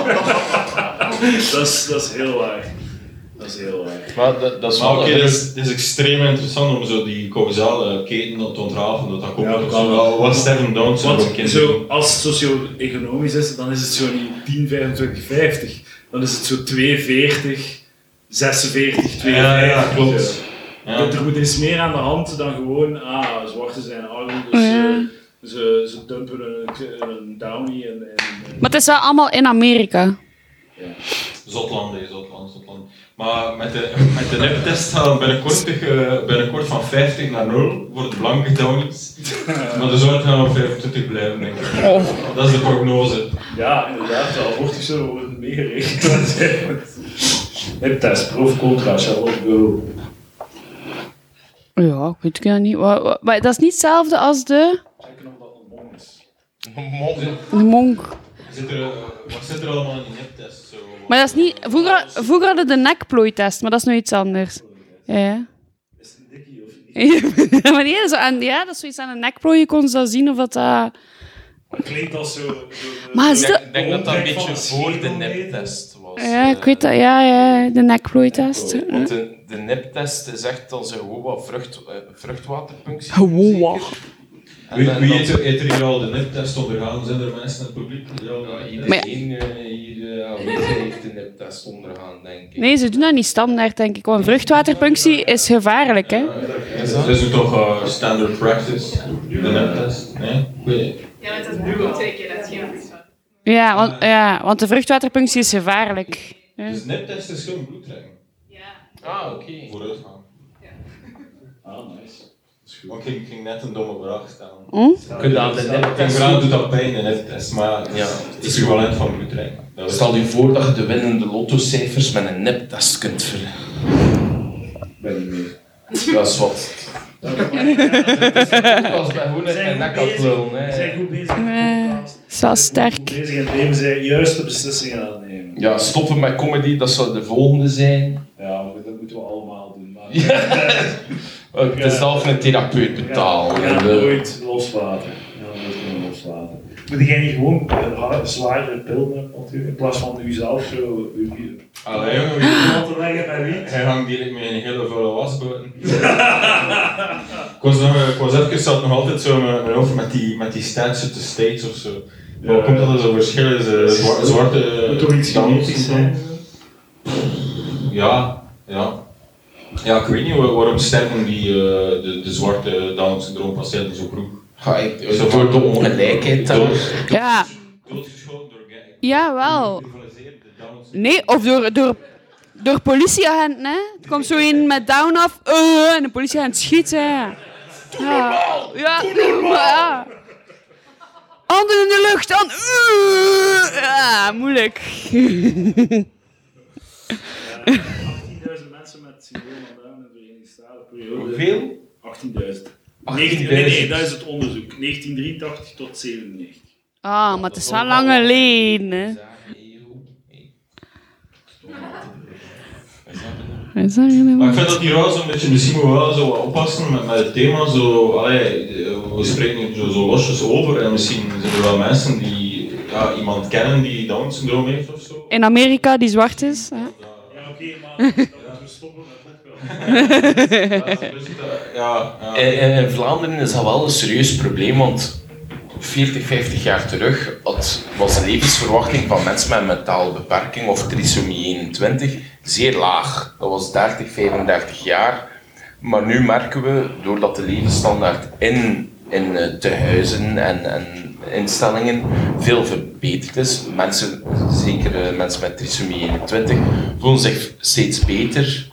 S5: ja. dat, is, dat is heel waar. Dat is heel waar.
S2: Maar dat, dat is
S4: Maar
S2: wel
S4: oké,
S2: een-
S4: dat is, dat is extreem interessant om zo die causale keten te ontrafelen. Dat dat komt
S5: Ja,
S4: ook
S5: dat
S4: zo
S5: kan
S4: dus wel.
S5: wel.
S4: Wat sterven Down syndroom
S5: Want
S4: kinderen?
S5: zo, als het socio-economisch is, dan is het zo niet 10, 25, 50. Dan is het zo 42, 46, 52.
S4: Ja, ja, klopt. Ja.
S5: Dus, Er- Er moet eens meer aan de hand dan gewoon, ah, zwarte zijn arm, dus
S3: Oh, Ja.
S5: eh, ze, ze dumpen een, een downy en... en, en-
S3: Maar het is wel allemaal in Amerika.
S4: Zotland, hè, Zotland, Zotland. Maar met de, met de neptest gaan we binnenkort, eh, binnenkort van 50 naar 0 voor de blanke downies. Maar de zwart gaan op 25 blijven, denk ik. Dat is de prognose.
S5: Ja, inderdaad, dus de abortus zullen worden meegerekend. Hiptest, proef, contra, shall we go.
S3: Ja, ik weet het ja niet. Wa- wa- Maar dat is niet hetzelfde als de,
S5: Checken of dat een mond is.
S3: de monk.
S4: Zit er, eh, wat zit er allemaal in die neptest? Zo?
S3: Maar dat is niet... Vroeger, vroeger hadden we de nekplooitest, maar dat is nu iets anders. Ja, Ja.
S5: Is het een dikkie of niet?
S3: Ja, maar nee, zo aan, ja, dat is zoiets aan een nekplooi. Je kon zo zien of dat... eh,
S5: Het klinkt als zo... eh, zo-
S3: Maar is
S5: zo-
S2: Ik
S3: dat-
S2: denk, ik denk dat dat een
S5: Omtrek van
S2: beetje
S5: een
S2: voor de
S5: schedel
S2: neptest was.
S3: ja, ik
S2: eh,
S3: weet dat. Ja, ja, de nekplooitest.
S2: Want de, de neptest is echt als een gewoon vrucht, eh, vruchtwaterpunctie.
S3: Gewoon
S2: zeker?
S3: wat.
S2: En
S4: Wie,
S2: dan-
S4: wie
S2: dan-
S4: heeft, er- heeft er hier al de neptest ondergaan? Zijn er mensen in het publiek? die al de
S2: ja,
S4: neptest-
S3: Maar
S2: Iedereen eh, hier eh, aanwezig heeft de neptest ondergaan, denk ik.
S3: Nee, ze doen dat niet standaard, denk ik. Want vruchtwaterpunctie is gevaarlijk, hè.
S2: Is
S4: Dat
S2: dat?
S4: is nu toch eh, standard practice, de neptest? Nee? Ik weet het.
S6: Ja, maar dat is nu al twee keer dat je
S3: Ja, want, ja, want de vruchtwaterpunctie is gevaarlijk. Ja.
S4: Dus neptest is gewoon bloedtrekken.
S6: Ja.
S2: Ah, oké.
S4: Vooruitgaan.
S5: Ah, nice. Dat is goed.
S4: Want ik ging net een domme vraag stellen.
S2: Kun je aan de
S4: En
S2: neptest
S4: vooral doet dat pijn in het test, maar
S2: Ja.
S4: het is equivalent van bloedrijk. Dat is
S2: Stel je voor dat je de winnende lottocijfers met een neptest kunt ver...
S5: Ben niet mee.
S2: Dat is wat. Dat was gewoon
S5: We zijn
S2: een nek
S5: goed
S2: aan het lullen,
S5: bezig. We
S2: hè.
S5: zijn goed bezig.
S3: Eh, dat is wel
S5: Goed
S3: sterk.
S5: bezig in het leven zijn juiste beslissingen aan het nemen.
S2: Ja, stoppen met comedy, dat zou de volgende zijn.
S5: Ja, maar dat moeten we allemaal doen. Maar
S2: Ik ben Eh, zelf een therapeut
S5: Ja,
S2: betalen. Eh,
S5: we gaan nooit loslaten. We gaan nooit kunnen loslaten. eh, Moet jij niet gewoon een ha- zwaardere pil nemen, natuurlijk, in plaats van u zelf zo... eh, u- u-
S4: Allee, jongen, wie weet wat
S1: Wat er leggen bij wie?
S4: Hij hangt direct met een hele vuile was buiten. ik, was nog, ik was even, zat nog altijd zo in mijn mijn hoofd met die, met die stats op de States of zo.
S1: Ja.
S4: Wat komt dat er zo verschillen? Ze- zwa- zwarte. eh,
S1: Moet toch iets
S4: dames
S1: genetisch zijn?
S4: Ja, ja. Ja, ik weet niet wa- waarom sterven die eh, de, de zwarte Down-syndroompatiënten zo vroeg.
S2: Ga ik
S4: Zo
S2: eh,
S4: van-
S2: door de ongelijkheid daar.
S4: Dood-
S3: Ja,
S4: Doodgeschoten door ga-
S3: jawel.
S4: geïndivaliseerde Downs.
S3: Nee, of door, door, door politieagenten, hè. Er komt zo een met down af, eh, en de politieagent schiet, hè. Ja. Ja. ja. Handen in de lucht, dan... eh, ja, moeilijk.
S1: 18.000 mensen met syndroom van Down in de Verenigde Staten. periode.
S2: Hoeveel?
S1: 18.000. 19, nee, nee, dat is het onderzoek. 1983 tot 97.
S3: Ah, maar het is wel lang geleden, hè. Is dat
S4: Maar
S3: helemaal-
S4: ik vind dat hier wel zo'n beetje, misschien moeten we wel zo wat oppassen met, met het thema. Zo, allee, eh, we spreken hier zo, zo losjes over en misschien zijn er wel mensen die ja, iemand kennen die Down syndroom heeft of zo.
S3: In Amerika, die zwart is. Hè?
S1: Ja, oké, maar dan moeten we stoppen met het wel.
S4: Ja, dat is best, eh, ja, ja.
S2: In, in- in eh, Vlaanderen is dat wel een serieus probleem, want 40, 50 jaar terug had, was de levensverwachting van mensen met een mentale beperking of trisomie 21 zeer laag. Dat was 30, 35 jaar. Maar nu merken we, doordat de levensstandaard in, in eh, tehuizen en, en instellingen veel verbeterd is, mensen, zeker eh, mensen met trisomie 21, voelen zich steeds beter.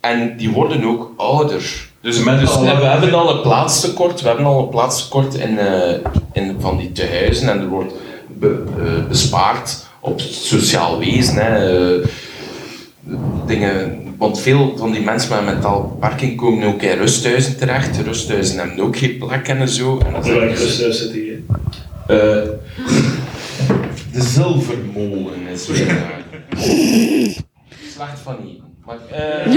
S2: En die worden ook ouder.
S4: Dus mensen
S2: Dus we hebben al een plaatstekort. We hebben al een plaatstekort in, eh, in van die tehuizen en er wordt be- eh, bespaard op het sociaal wezen. Hè, eh, dingen, want veel van die mensen met een mentale beperking komen ook in rusthuizen terecht. Rusthuizen hebben ook geen plek en zo. En dat is- dus-
S1: Terwijl ik rusthuis zit hier.
S2: Eh, de zilvermolen is weer daar. Slecht van hier. Maar, eh,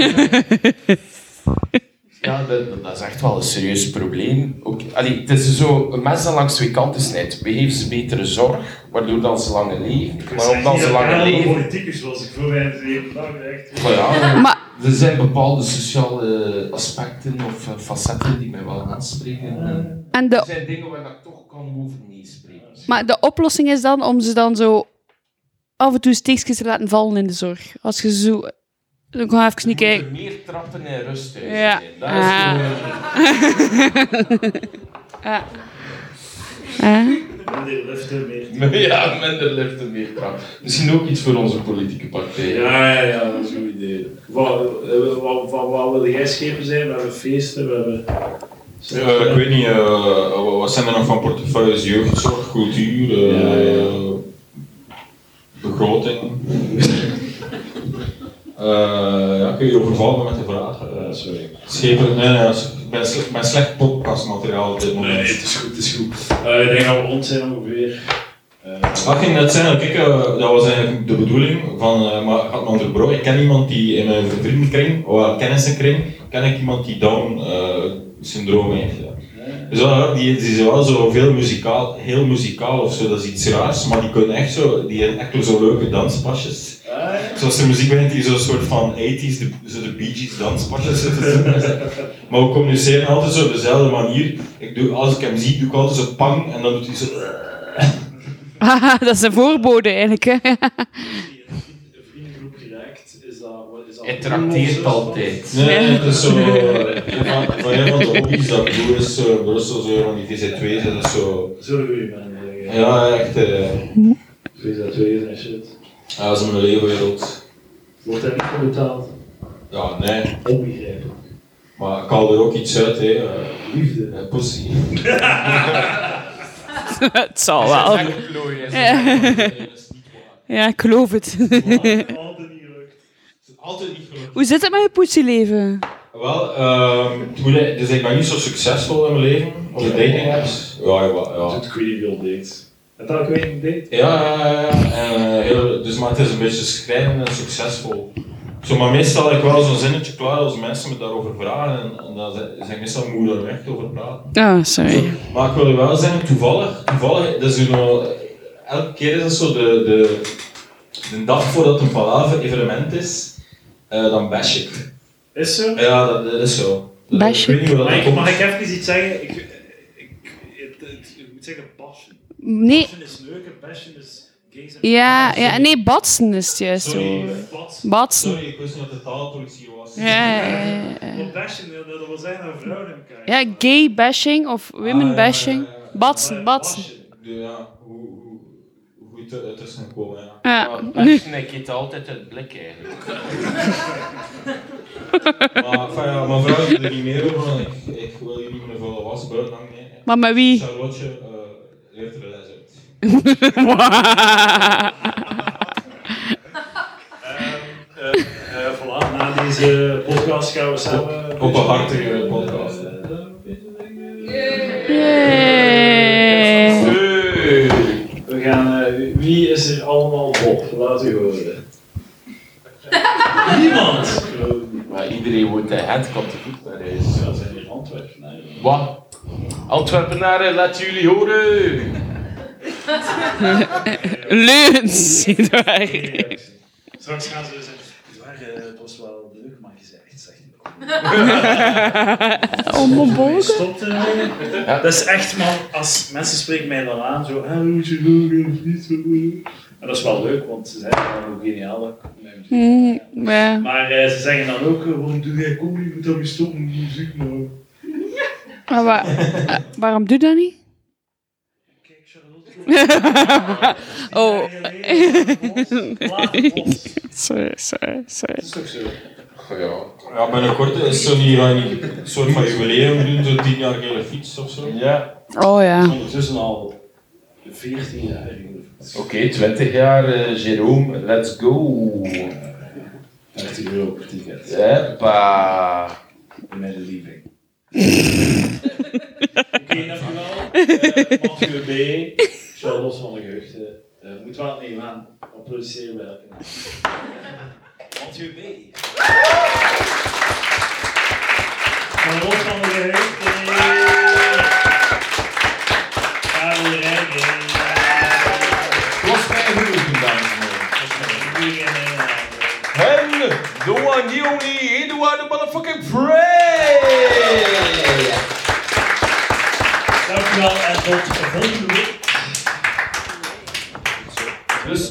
S2: ja, dat, dat is echt wel een serieus probleem. Ook, allee, het is zo, een mes dat langs twee kanten snijdt. We geven ze betere zorg, waardoor dan ze langer leven. Maar omdat ze langer leven...
S1: politicus was, ik voel mij in het leven lang echt.
S2: Maar ja,
S3: Maar-
S2: er zijn bepaalde sociale aspecten of eh, facetten die mij wel aanspreken. En
S3: En
S2: Er
S3: de,
S2: zijn dingen waar ik toch kan over meespreken.
S3: maar de oplossing is dan om ze dan zo af en toe steekjes te laten vallen in de zorg. Als je zo... Dan ga ik even niet
S2: Je moet
S3: kijken.
S2: er meer trappen en rust uit.
S3: Ja.
S2: Dat is
S3: Ah.
S2: gewoon-
S3: Hè?
S1: Minder liften, eh, meer.
S2: Ja, minder liften, meer trappen. Misschien ook iets voor onze politieke partij.
S1: Ja, ja, ja, dat is een goed idee. Wat, eh, wat, wat, wat wil jij schepen zijn? We hebben feesten, we hebben...
S4: Eh, ik weet niet, eh, wat- wat zijn er nog van portefeuilles? Jeugdzorg, cultuur, eh, begroting. Eh, ja, kun je overvallen met de vraag? eh.
S1: Ja, sorry.
S4: Schepen, nee, nee, ik ben, sle- ik ben slecht podcastmateriaal op dit
S1: Nee,
S4: moment.
S1: het is goed, het is goed. Eh, ik denk dat we rond zijn ongeveer. Eh,
S4: Wat ging net zijn, kijk, eh, dat was eigenlijk de bedoeling van, eh, maar ik had me onderbroken. Ik ken iemand die in mijn vriendenkring, of wel, kennissenkring, ken ik iemand die Down eh, syndroom heeft. Ja. Dus dat, wel, die, die zijn wel zo veel muzikaal, heel muzikaal of zo, dat is iets raars, maar die kunnen echt zo, die hebben echt wel zo leuke danspasjes.
S1: ah, ja.
S4: Zoals de muziek begint, die zo'n soort van 80s, de, zo de Bee Gees danspasjes zitten te doen. Maar we communiceren altijd zo op dezelfde manier. Ik doe, als ik hem zie, doe ik altijd zo pang en dan doet hij zo.
S3: Haha, dat is een voorbode eigenlijk. Hè?
S1: Een vriendengroep geraakt, is dat... wat Is dat
S2: Het trakteert altijd.
S4: Nee, nee, het is zo. eh, van- Van een van de hobby's dat ik doe is eh, Brussel, zo van die VZ2's, dat is zo.
S1: Zullen we je man zeggen?
S4: Ja, echt. eh
S1: Wees dat twee en shit.
S4: ja, dat is mijn leeuwwereld.
S1: Wordt daar niet voor betaald?
S4: Ja, nee.
S1: Onbegrijpelijk.
S4: Maar ik haal er ook iets uit, hè. eh,
S1: Liefde.
S4: eh, pussy.
S3: Het zal wel. Ja, ik geloof het.
S1: Altijd niet gelukt.
S4: Altijd niet gelukt.
S3: Hoe zit het met je poetsieleven?
S4: Wel, ehm, het moeilijk- dus ik ben niet zo succesvol in mijn leven op de dating apps. Ja, ja, ja.
S1: Doet Queenie veel dates. En dan kun je een date?
S4: Ja, ja, ja, ja. En, eh, heel, dus, maar het is een beetje schrijnend en succesvol. Zo, maar meestal heb ik wel zo'n zinnetje klaar als mensen me daarover vragen. En, en dan zeg zeg ik meestal moet je daar echt over praten.
S3: Ah, sorry.
S4: Maar ik wil je wel zeggen, toevallig, toevallig dat is hier nog, elke keer is dat zo de, de, de dag voordat een palaver evenement is, eh, dan bash ik.
S5: Is zo?
S4: Ja, dat, dat is zo. Dat-
S3: Bash
S4: Ik weet niet hoe dat
S5: Mag ik,
S4: komt.
S5: mag ik even iets zeggen? Ik, ik, het, het- ik moet zeggen passion.
S3: Nee,
S5: Passion is neuken, passion is gays en...
S3: ja, ja, nee, batsen is het juist.
S4: Sorry.
S3: hoor.
S5: Pas.
S3: Batsen.
S4: Sorry, ik wist niet dat de taalpolitie was.
S3: Ja, ja, ja, ja.
S5: Maar passion, dat dat wil zeggen dat vrouwen hem krijgen.
S3: Ja, gay bashing of women bashing.
S4: Ah, ja, ja, ja.
S3: Batsen, batsen.
S4: Ja, hoe, hoe, hoe het er- tussen komen, ja.
S3: Ja, Ah, nu.
S2: Passion, ik eet altijd het blik eigenlijk.
S4: Maar, enfin, ja, mijn vrouw is er niet meer over, want ik, ik wil hier niet meer vuile was buiten hangen. nee.
S3: Maar met wie?
S4: Charlotte eh leert er les uit.
S5: Eh, voilà, na deze podcast gaan we samen... Eh,
S4: Op een hartige podcast. hè.
S3: Yay.
S5: We gaan... eh, wie is er allemaal op? Laat u horen. Niemand! Ik geloof het niet.
S2: Maar iedereen woont in het, komt te goed naar huis.
S5: Ja, dat zijn hier Antwerpen. hè.
S2: Wat? Antwerpenaren, laat jullie horen!
S3: Leuns. Edouard.
S5: Straks gaan ze zeggen, Edouard, eh, het was wel leuk, maar gezegd, zegt hij nog.
S3: Oh, mijn bogen.
S5: Stopt ermee. Dat is echt, man, als mensen spreken mij dan aan, zo, ah, moet je doen, of niet zo doen. En dat is wel leuk, want ze zijn wel hoe geniaal dat ik mij bedoel.
S3: Mm, ja.
S5: Maar eh, ze zeggen dan ook, eh, waarom doe jij comedy, je moet dat niet stoppen met muziek nou.
S3: Maar wa- eh, waarom doe je dat niet?
S5: Kijk, Charlotte,
S3: Oh,
S5: laat het los.
S3: sorry, sorry, sorry.
S5: Dat is toch zo.
S2: Ja.
S4: Ja, binnenkort is Sony gaan een soort van jubileum doen, zo 10 jaar gele fiets of zo.
S2: ja.
S3: Oh ja.
S5: Ondertussen al 14 jaar. jongens.
S2: Oké, 20 jaar, eh Jerome, let's go!
S5: 15 euro per ticket.
S2: Heppa!
S5: Met de lieving. Oké, dankjewel. Eh, Mathieu B. Charles van de Geugde. Eh moet wel nemen aan. Applaudisseren bij elke naam. Mathieu B. Charles van de Geugde. Karel Rijken.
S2: Het was mij genoeg, dames en heren. En the one, the only, Eduard the motherfucking Prey!
S5: Dankjewel en tot volgende week.
S2: Dus